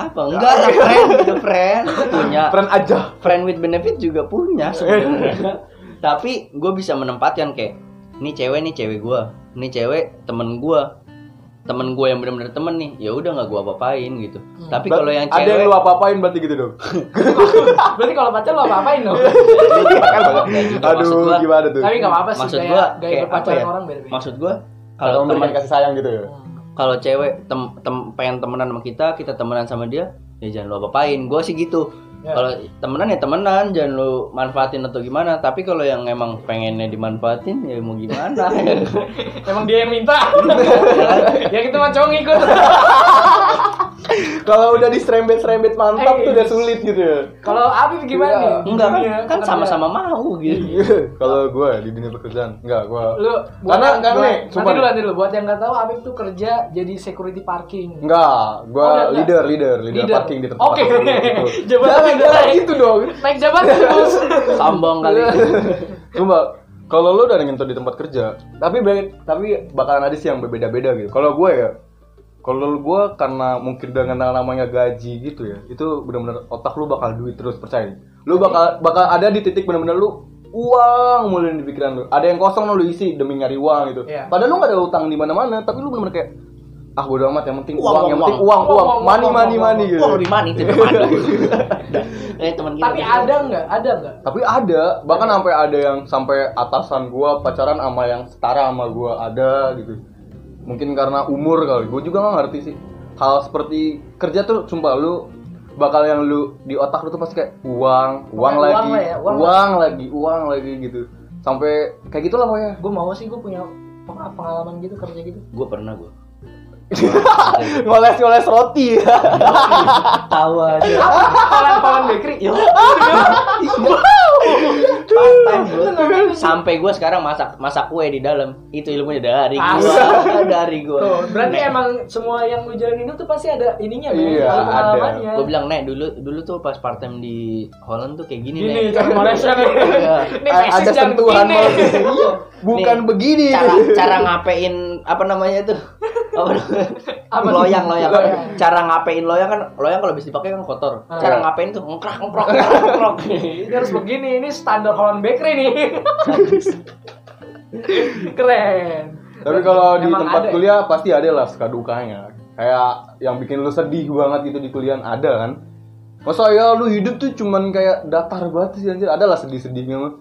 C: apa enggak lah friend gitu friend punya
A: Friend aja.
C: friend with benefit juga
A: Eh.
C: punya sebenarnya tapi gue bisa menempatkan kayak ini cewek nih cewek gue ini cewek temen gue temen gue yang bener-bener temen nih ya udah nggak gue apa-apain gitu
B: Hmm.
C: tapi
A: Ba-
C: kalau yang
A: ada yang
C: cewek
A: lu apa-apain berarti gitu dong.
B: Berarti kalau pacar lo apa-apain dong?
C: Iya. Kayak gitu, maksud
A: Aduh,
C: gua.
A: gimana tuh?
B: Tapi nggak apa-apa sih.
C: maksud
B: gaya-
C: gue
B: gaya
C: kayak apa
B: berpacaran
C: ya
B: orang beda-beda. Hmm.
C: maksud gue
A: Kalau
C: kalau temen
A: memberikan kasih sayang gitu ya.
C: kalau cewek tem, tem- pengen temenan sama kita kita temenan sama dia ya jangan lu apa-apain gue sih gitu
B: Ya.
C: kalau temenan ya temenan jangan lu manfaatin atau gimana tapi kalau yang emang pengennya dimanfaatin ya mau gimana
B: Emang dia yang minta. ya kita mah cowok ngikut.
A: Kalau udah diserembet-serembet mantap
B: Eh,
A: tuh udah sulit gitu ya.
B: Kalau Abi gimana nih?
C: enggak kan,
B: Iya,
C: kan
B: pekerjaan.
C: sama-sama mau gitu
A: Kalau gue di dunia pekerjaan, enggak gue.
B: Iya. Lu buat
A: Karena
B: yang-
A: karena
B: buat-
A: nih,
B: nanti
A: sumpah
B: dulu
A: nih.
B: nanti dulu buat yang nggak tahu Abi tuh kerja jadi security parking.
A: Enggak, gue
B: Oh, enggak, enggak.
A: leader, leader, leader,
B: Leader.
A: parking di tempat.
B: Oke.
A: parking gitu.
B: Jabatan
A: Jangan,
B: leader.
A: jangan gitu dong.
B: Naik jabatan terus.
C: sambong kali
B: Iya.
A: Sumpah, kalau lu udah nyentuh di tempat kerja, tapi be- tapi bakalan ada sih yang berbeda-beda gitu. Kalau gue ya, kalau gue karena mungkin dengan yang namanya gaji gitu ya, itu benar-benar otak lu bakal duit terus percaya. Lu bakal bakal ada di titik benar-benar lu uang mulu di pikiran lu. Ada yang kosong lu isi demi nyari uang gitu.
B: Iya.
A: Padahal lu gak ada utang di mana-mana, tapi lu benar-benar kayak ah bodo amat yang penting uang,
C: Uang,
A: yang
C: uang,
A: penting uang,
B: uang,
A: uang, money,
B: uang, uang,
A: money,
B: uang,
A: money gitu.
C: wah di mana itu teman lu eh teman kita
B: iya. Tapi ada nggak? Ada nggak?
A: Tapi ada, bahkan sampai ada yang sampai atasan gua pacaran sama yang setara sama gua ada gitu. Mungkin karena umur kali. Gua juga nggak ngerti sih. Hal seperti kerja tuh sumpah lu bakal yang lu di otak lu tuh pasti kayak uang, uang,
B: Uang
A: lagi,
B: lah ya, uang
A: uang, lagi, uang lagi gitu. Sampai kayak gitulah pokoknya.
B: Gue mau sih gue punya peng- pengalaman gitu kerja gitu.
C: gue pernah gue
A: Ngoles-ngoles roti.
C: tawa
B: Kawan-kawan bakery. Iya.
C: Yo. Sampai gue sekarang masak masak kue di dalam. Itu ilmunya dari gue. dari gue.
B: Tuh, berarti emang semua yang lu jalanin itu pasti ada ininya, Bang.
A: Iya,
B: Ada
A: ada.
B: pengalamannya.
C: Gue bilang, Nek, dulu dulu tuh pas part time di Holland tuh kayak gini,
B: Gini,
C: Nek.
B: cara Malaysia nih.
C: Iya.
B: Nih,
A: A-
B: mesin
A: ada
B: jam
A: sentuhan
B: gini.
A: malah. Iya, Bukan
C: Nih,
A: begini.
C: Cara cara ngapain apa namanya itu? Apa namanya?
B: Apa tuh?
C: loyang, loyang.
B: Loyang.
C: Cara ngapain loyang kan loyang kalau bisa dipakai kan kotor.
B: Ah.
C: Cara ngapain tuh ngkrak ngprok ngkrak, ngprok.
B: Ini harus begini, ini standar Holland Bakery nih. Keren.
A: Tapi kalau di
B: Emang
A: tempat
B: ada ya?
A: kuliah pasti ada lah suka dukanya. Kayak yang bikin lu sedih banget gitu di kuliah ada kan? Masa ya lu hidup tuh cuman kayak datar banget sih anjir. Ada lah sedih-sedihnya mah.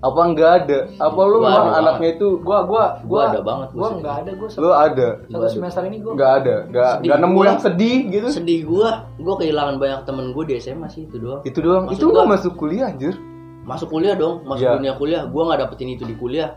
A: Apa enggak ada? Apa lu
C: Gua
A: memang
C: ada
A: anaknya itu
B: gua gua
C: Gua ada banget, gua
B: gua
C: sedih.
B: enggak ada gua se-
A: lu ada?
B: satu semester ini gua
A: Enggak ada. Enggak
C: Sedih
A: enggak nemu
C: gua.
A: yang sedih gitu.
C: Sedih gua, gua kehilangan banyak temen gue di SMA sih itu doang.
A: Itu doang.
C: Maksud
A: itu enggak
C: gua-
A: masuk kuliah anjir.
C: masuk kuliah dong masuk
A: Iya.
C: dunia kuliah gue nggak dapetin itu di kuliah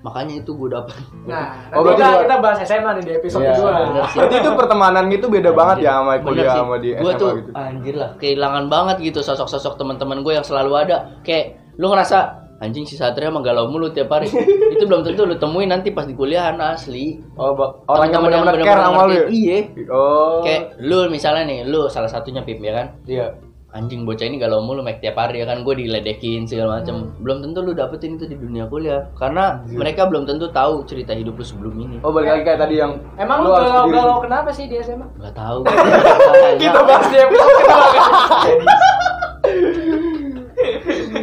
C: makanya itu gue dapet
B: Nah,
A: Oh,
B: nanti
A: berarti
B: kita,
A: gua-
B: kita bahas SMA nih di episode
A: Iya.
B: kedua.
C: Bener sih.
A: Berarti itu pertemanan itu beda banget ya sama
C: Iya, Bener
A: kuliah
C: sih.
A: sama di
C: Gua
A: SMA
C: tuh
A: gitu.
C: anjir lah kehilangan banget gitu sosok-sosok teman-teman gue yang selalu ada kayak lu ngerasa anjing si Satria emang galau mulu tiap hari itu belum tentu lu temuin nanti pas di kuliahan asli
A: Oh, ba- orang yang
C: Temen-temen
A: benar-benar care
C: bener-bener
A: sama lu.
C: ngerti.
A: ya?
C: iya
A: Oh.
C: kayak lu misalnya nih lu salah satunya Pip ya kan
A: Iya.
C: anjing bocah ini galau mulu make tiap hari ya kan gue diledekin segala macam
A: Hmm.
C: belum tentu lu dapetin itu di dunia kuliah karena mereka belum tentu tahu cerita hidup lu sebelum ini
A: Oh, balik lagi kayak tadi yang
B: Emang lu
A: harus
B: galau
A: sendiri.
B: galau kenapa sih di SMA?
C: Gak tahu. Gak
A: Gitu.
B: Kita
C: tahu.
B: bahas di episode kedua.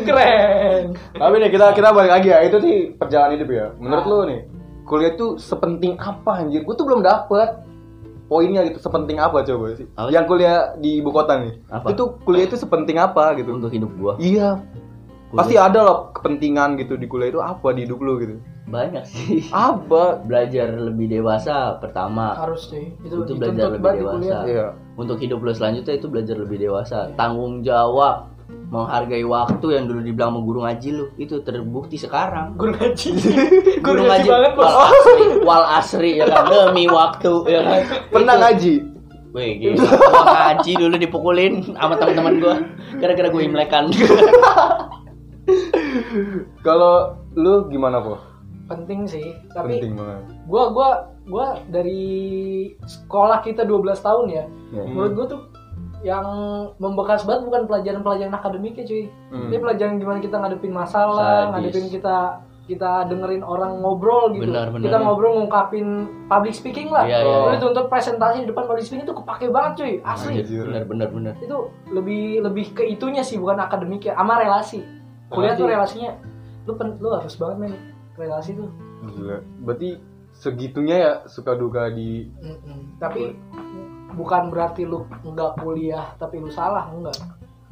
B: Keren.
A: Tapi nih kita kita balik lagi ya itu sih perjalanan hidup ya.
B: Ah.
A: Menurut lu nih kuliah itu sepenting apa anjir? Gue tuh belum dapet poinnya gitu sepenting apa coba sih?
C: Apa?
A: Yang kuliah di ibu kota nih.
C: Apa?
A: Itu kuliah itu sepenting apa gitu?
C: Untuk hidup gua
A: Iya.
C: Kuliah.
A: Pasti ada loh kepentingan gitu di kuliah itu apa di hidup lu gitu.
C: banyak sih.
A: Apa?
C: Belajar lebih dewasa pertama.
B: Harus sih. Itu,
C: Nah, Itu
B: dituntut
C: belajar lebih
B: banget di
C: dewasa.
B: kuliah.
A: Iya.
C: Untuk hidup lu selanjutnya itu belajar lebih dewasa, tanggung jawab, menghargai waktu yang dulu dibilang sama guru ngaji lu itu terbukti sekarang.
B: Guru ngaji. Guru ngaji banget, Bos.
C: wal asri, wal asri ya kan demi waktu ya kan.
A: Pernah ngaji?
C: Wih, gila. Gua ngaji dulu dipukulin sama teman-teman gua gara-gara gue imlekan.
A: Kalau lu gimana kok?
B: Penting sih, tapi
A: Penting banget.
B: gua gua gua dari sekolah kita 12 tahun ya.
C: Ya.
B: Menurut gua tuh yang membekas banget bukan pelajaran-pelajaran akademiknya cuy.
A: Hmm.
B: Ini pelajaran gimana kita ngadepin masalah,
C: Sadis.
B: ngadepin kita kita dengerin orang ngobrol gitu.
C: Benar, benar.
B: Kita ngobrol ngungkapin public speaking lah.
C: Iya, Iya,
A: iya,
B: Lu
A: iya.
B: dituntut presentasi di depan public speaking itu kepake banget cuy, asli.
A: Anjir.
C: bener bener bener.
B: Itu lebih lebih ke itunya sih bukan akademik ya, sama relasi. Kuliah tuh relasinya lu pen, lu harus banget men relasi tuh.
A: Gila. Berarti segitunya ya suka duka di
B: Mm-mm. Tapi bukan berarti lu nggak kuliah tapi lu salah enggak.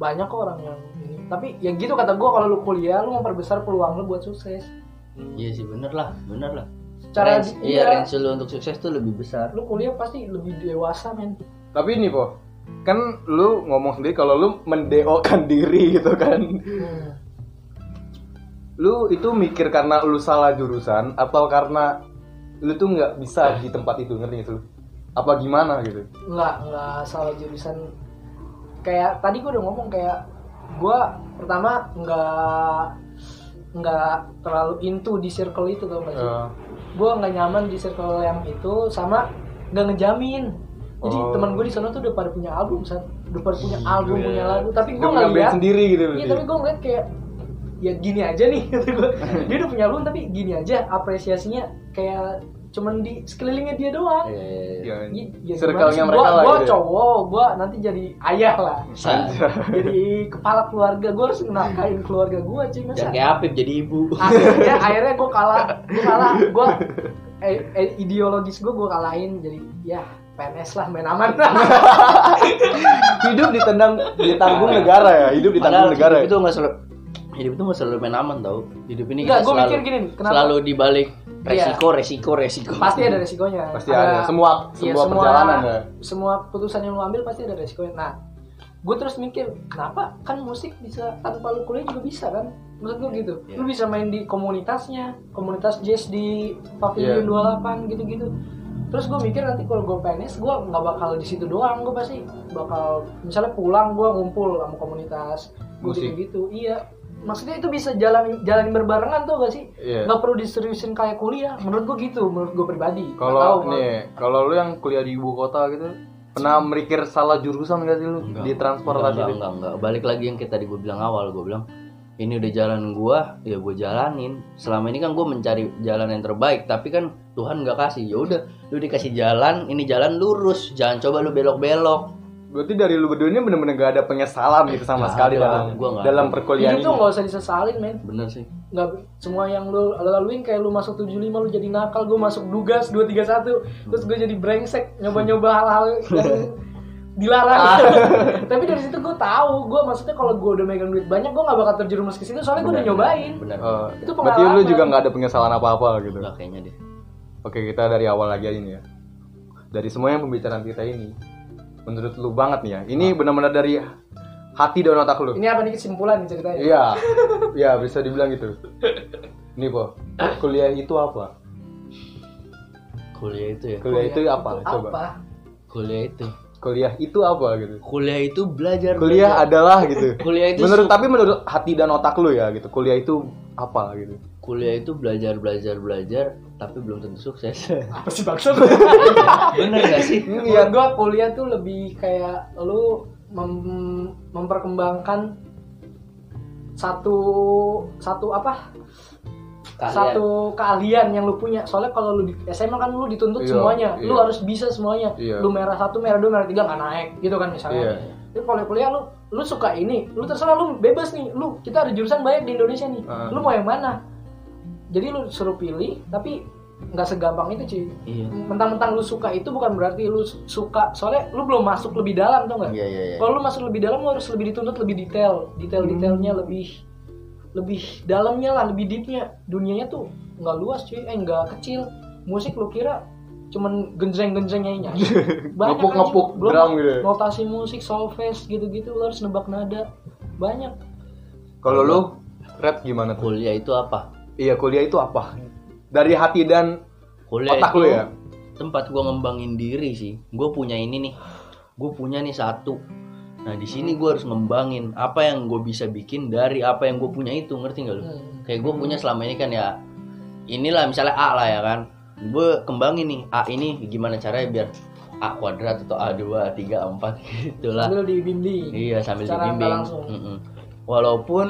B: Banyak kok orang yang ini. Tapi ya gitu kata gua kalau lu kuliah lu memperbesar peluang lu buat sukses.
C: Iya sih bener lah, bener lah.
B: Cara
C: Range-
B: iya,
C: iya range lu untuk sukses tuh lebih besar.
B: lu kuliah pasti lebih dewasa men.
A: tapi ini po kan lu ngomong sendiri kalau lu mendeokan diri gitu kan
B: Hmm.
A: lu itu mikir karena lu salah jurusan atau karena lu tuh nggak bisa di tempat itu ngerti nggak sih lu apa gimana gitu
B: nggak nggak salah jurusan kayak tadi gue udah ngomong kayak gue pertama nggak nggak terlalu into di circle itu tau gak sih
A: Eh,
B: gue nggak nyaman di circle yang itu sama nggak ngejamin jadi
A: Oh.
B: teman gue di sana tuh udah pada punya album San. udah pada punya album
C: Gila.
B: punya lagu tapi gue
A: udah
B: nggak
A: mengambil
B: lihat
A: sendiri gitu
B: iya
A: berarti.
B: tapi gue ngeliat kayak ya gini aja nih kata gua. dia udah punya album tapi gini aja apresiasinya kayak cuman di sekelilingnya dia doang
A: Iya,
C: Iya.
B: Ya,
A: circle-nya
B: gimana sih?
A: mereka
B: gua,
A: lah
B: gua
A: gitu ya.
B: cowok gua nanti jadi ayah lah
C: Sa-
B: jadi kepala keluarga gua harus nafkahin keluarga gua cuy masa
C: Jangan kayak Apip jadi ibu.
B: akhirnya akhirnya gua kalah gua kalah gua eh, eh, ideologis gua gua kalahin jadi ya PNS lah main aman
A: hidup ditendang ditanggung negara ya hidup ditanggung
C: Padahal
A: negara
C: hidup
A: ya?
C: itu nggak selalu hidup itu nggak selalu main aman tau. Hidup ini
B: Nggak,
C: kita
B: gua
C: selalu
B: mikir gini nih, kenapa?
C: selalu dibalik
B: Iya.
C: resiko, resiko, resiko.
B: pasti ada resikonya
A: Pasti ada. Semua-
B: iya,
A: semua perjalanan ya.
B: semua keputusan yang lu ambil pasti ada resikonya nah gue terus mikir kenapa kan musik bisa tanpa lu kuliah juga bisa kan maksud gue gitu lu bisa main di komunitasnya komunitas jazz di pavilion
A: Iya.
B: 28 gitu-gitu terus gue mikir nanti kalau gue PNS gue nggak bakal di situ doang gue pasti bakal misalnya pulang gue ngumpul sama komunitas gue
A: Musik.
B: gitu iya maksudnya itu bisa jalan jalanin berbarengan tuh gak sih
A: Iya.
B: nggak perlu diseriusin kayak kuliah menurut gue gitu menurut gue pribadi Nggak tahu,
A: Kalau nih, kalau lu yang kuliah di ibu kota gitu, pernah mikir salah jurusan gak sih lu
C: Enggak.
A: di transportasi? gitu?
C: enggak,
A: itu?
C: enggak, enggak. Balik lagi yang kita tadi gue bilang awal, gue bilang ini udah jalan gua, ya gue jalanin. Selama ini kan gue mencari jalan yang terbaik, tapi kan Tuhan nggak kasih. Ya udah, lu dikasih jalan, ini jalan lurus, jangan coba lu belok-belok.
A: Berarti dari lu berdua ini bener-bener gak ada penyesalan gitu sama
C: Nggak
A: sekali
C: ada,
A: dalam
C: gua nggak
A: dalam
C: ada.
A: perkuliahan
B: hidup
A: ini.
B: tuh nggak usah disesalin men
C: Bener sih.
B: nggak semua yang lu laluin kayak lu masuk 75 lu jadi nakal gue masuk dugas 231 terus gue jadi brengsek nyoba-nyoba hal-hal yang dilarang
A: Ah.
B: tapi dari situ gue tahu gue maksudnya kalau gue udah megang duit banyak gue nggak bakal terjerumus ke situ soalnya gue udah
C: Bener,
B: nyobain
C: Bener.
A: Eh,
B: Itu
A: berarti lu
B: pengalaman.
A: juga nggak ada penyesalan apa-apa gitu.
C: Enggak kayaknya deh.
A: Oke, kita dari awal lagi aja nih ya. Dari semua yang pembicaraan kita ini, menurut lu banget nih ya.
C: Nah.
A: Ini bener-bener dari hati dan otak lu.
B: ini apa nih kesimpulan nih ceritanya
A: Iya, iya bisa dibilang gitu. Nih po, kuliah itu apa?
C: Kuliah itu ya.
A: Kuliah Iya, itu apa? Coba.
B: apa
C: Kuliah itu.
A: Kuliah itu apa gitu?
C: Kuliah itu belajar.
A: Kuliah
C: belajar.
A: adalah gitu.
C: Kuliah itu
A: menurut
C: su-
A: tapi menurut hati dan otak lu ya gitu. Kuliah itu apa gitu?
C: Kuliah itu belajar, belajar, belajar, tapi belum tentu sukses.
B: apa sih maksudnya
C: Bener gak sih?
B: Iya, gue kuliah tuh lebih kayak lu mem- memperkembangkan satu satu apa?
C: Keahlian.
B: Satu keahlian yang lu punya. Soalnya kalau lu di SMA kan lu dituntut
A: Iya,
B: semuanya. Lu
A: iya.
B: harus bisa semuanya.
A: Iya.
B: Lu merah satu, merah dua, merah tiga nggak naik gitu kan
A: Iya.
B: misalnya. Tapi kalau kuliah lu lu suka ini, lu terserah lu bebas nih. Lu kita ada jurusan banyak di Indonesia nih.
A: Heeh.
B: Lu mau yang mana? Jadi lu suruh pilih, tapi nggak segampang itu cuy
C: Iya.
B: mentang-mentang lu suka itu bukan berarti lu su- suka soalnya lu belum masuk lebih dalam tau nggak
C: Iya, iya, iya.
B: kalau lu masuk lebih dalam lu harus lebih dituntut lebih detail detail detailnya lebih lebih dalamnya lah lebih deepnya dunianya tuh nggak luas cuy eh nggak kecil musik lu kira cuman genjreng-genjreng nyanyi
A: Ngepuk-ngepuk drum gitu.
B: notasi musik solfege gitu-gitu lu harus nebak nada banyak
A: Kalau lu rap gimana tuh?
C: Kuliah itu apa?
A: Iya, kuliah itu apa? Dari hati dan
C: Kuliah
A: Otak
C: itu
A: lu ya?
C: tempat gua ngembangin diri sih. Gua punya ini nih. Gue punya nih satu. Nah, di sini gua harus ngembangin apa yang gue bisa bikin dari apa yang gue punya itu, ngerti nggak lu?
B: Hmm.
C: Kayak gue punya selama ini kan ya inilah misalnya A lah ya kan. Gue kembangin nih A ini gimana caranya biar A kuadrat atau A2, A3, A4 gitulah.
B: sambil dibimbing
C: Iya sambil
B: Secara nggak
C: dibimbing.
B: langsung.
C: Mm-mm. Walaupun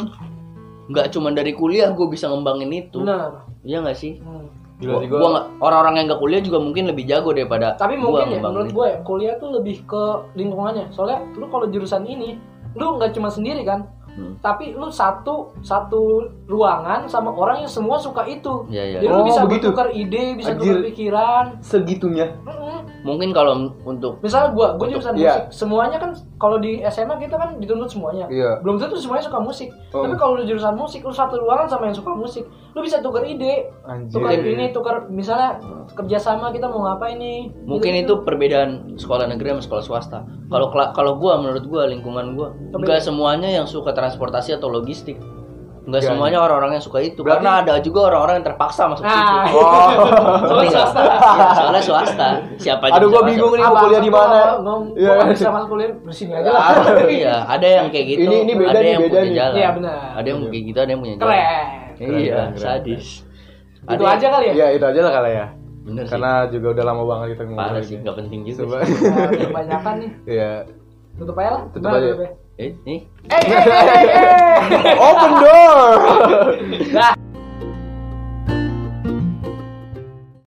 C: nggak cuma dari kuliah gue bisa ngembangin itu,
B: benar
C: iya nggak sih?
B: Hmm.
A: Gila
C: Gua-
A: sih gua.
C: gua nggak- orang-orang yang nggak kuliah juga mungkin lebih jago daripada
B: tapi mungkin
C: gua
B: ya
C: ngembangin
B: menurut
C: itu.
B: gue ya kuliah tuh lebih ke lingkungannya soalnya lu kalau jurusan ini lu nggak cuma sendiri kan
C: Hmm.
B: tapi lu satu satu ruangan sama orang yang semua suka itu
C: Iya, iya.
B: jadi
A: Oh,
B: lu bisa
A: begitu.
B: bertukar ide bisa
A: Anjir.
B: tukar pikiran
A: segitunya
B: Mm-mm.
C: Mungkin kalau untuk
B: misalnya gua gua jurusan
A: Iya.
B: musik semuanya kan kalau di SMA kita kan dituntut semuanya
A: Iya.
B: belum tentu semuanya suka musik
A: Oh.
B: tapi kalau lu jurusan musik lu satu ruangan sama yang suka musik lu bisa tukar ide
A: anjir
B: tukar ini tukar misalnya kerjasama kita mau ngapain nih
C: Hmm. mungkin
B: Gitu-gitu.
C: itu perbedaan sekolah negeri sama sekolah swasta. Kalau kela- kalau gua menurut gua lingkungan gua
B: Tapi-
C: enggak semuanya yang suka transportasi atau logistik. Enggak
A: Iya,
C: semuanya orang-orang yang suka itu.
A: Berarti-
C: Karena ada juga orang-orang yang terpaksa masuk
B: nah
C: situ.
A: oh
C: Ngerti nggak?
B: swasta. kan?
C: Iya, Soalnya swasta. Siapa aja
A: aduh
C: bisa
A: gua
C: masuk.
A: bingung nih
B: Abang,
A: mau kuliah di
B: gua
A: mana
B: nggak mau-
A: Iya.
B: gua nggak bisa malah kuliah di sini aja lah
C: Iya, ada yang kayak gitu.
A: Ini- ini beda
C: ada
A: nih,
C: yang
A: beda
C: punya
A: nih.
C: jalan.
B: Iya, benar.
C: Ada yang kayak gitu, ada yang punya jalan.
B: keren
A: Keren,
C: Iya,
A: keren, keren.
C: sadis.
B: itu aja kali ya
A: ya itu aja lah kali ya
C: Bener sih.
A: karena juga udah lama banget kita ngobrol
C: Parah
A: ini.
C: sih, nggak penting juga.
A: coba
C: sih.
B: Nah, kebanyakan nih
A: ya
B: tutup aja lah
A: Tutup
B: Gimana
A: aja.
B: tutupnya?
C: Eh, nih.
B: eh eh eh eh, eh
A: open door
B: Dah.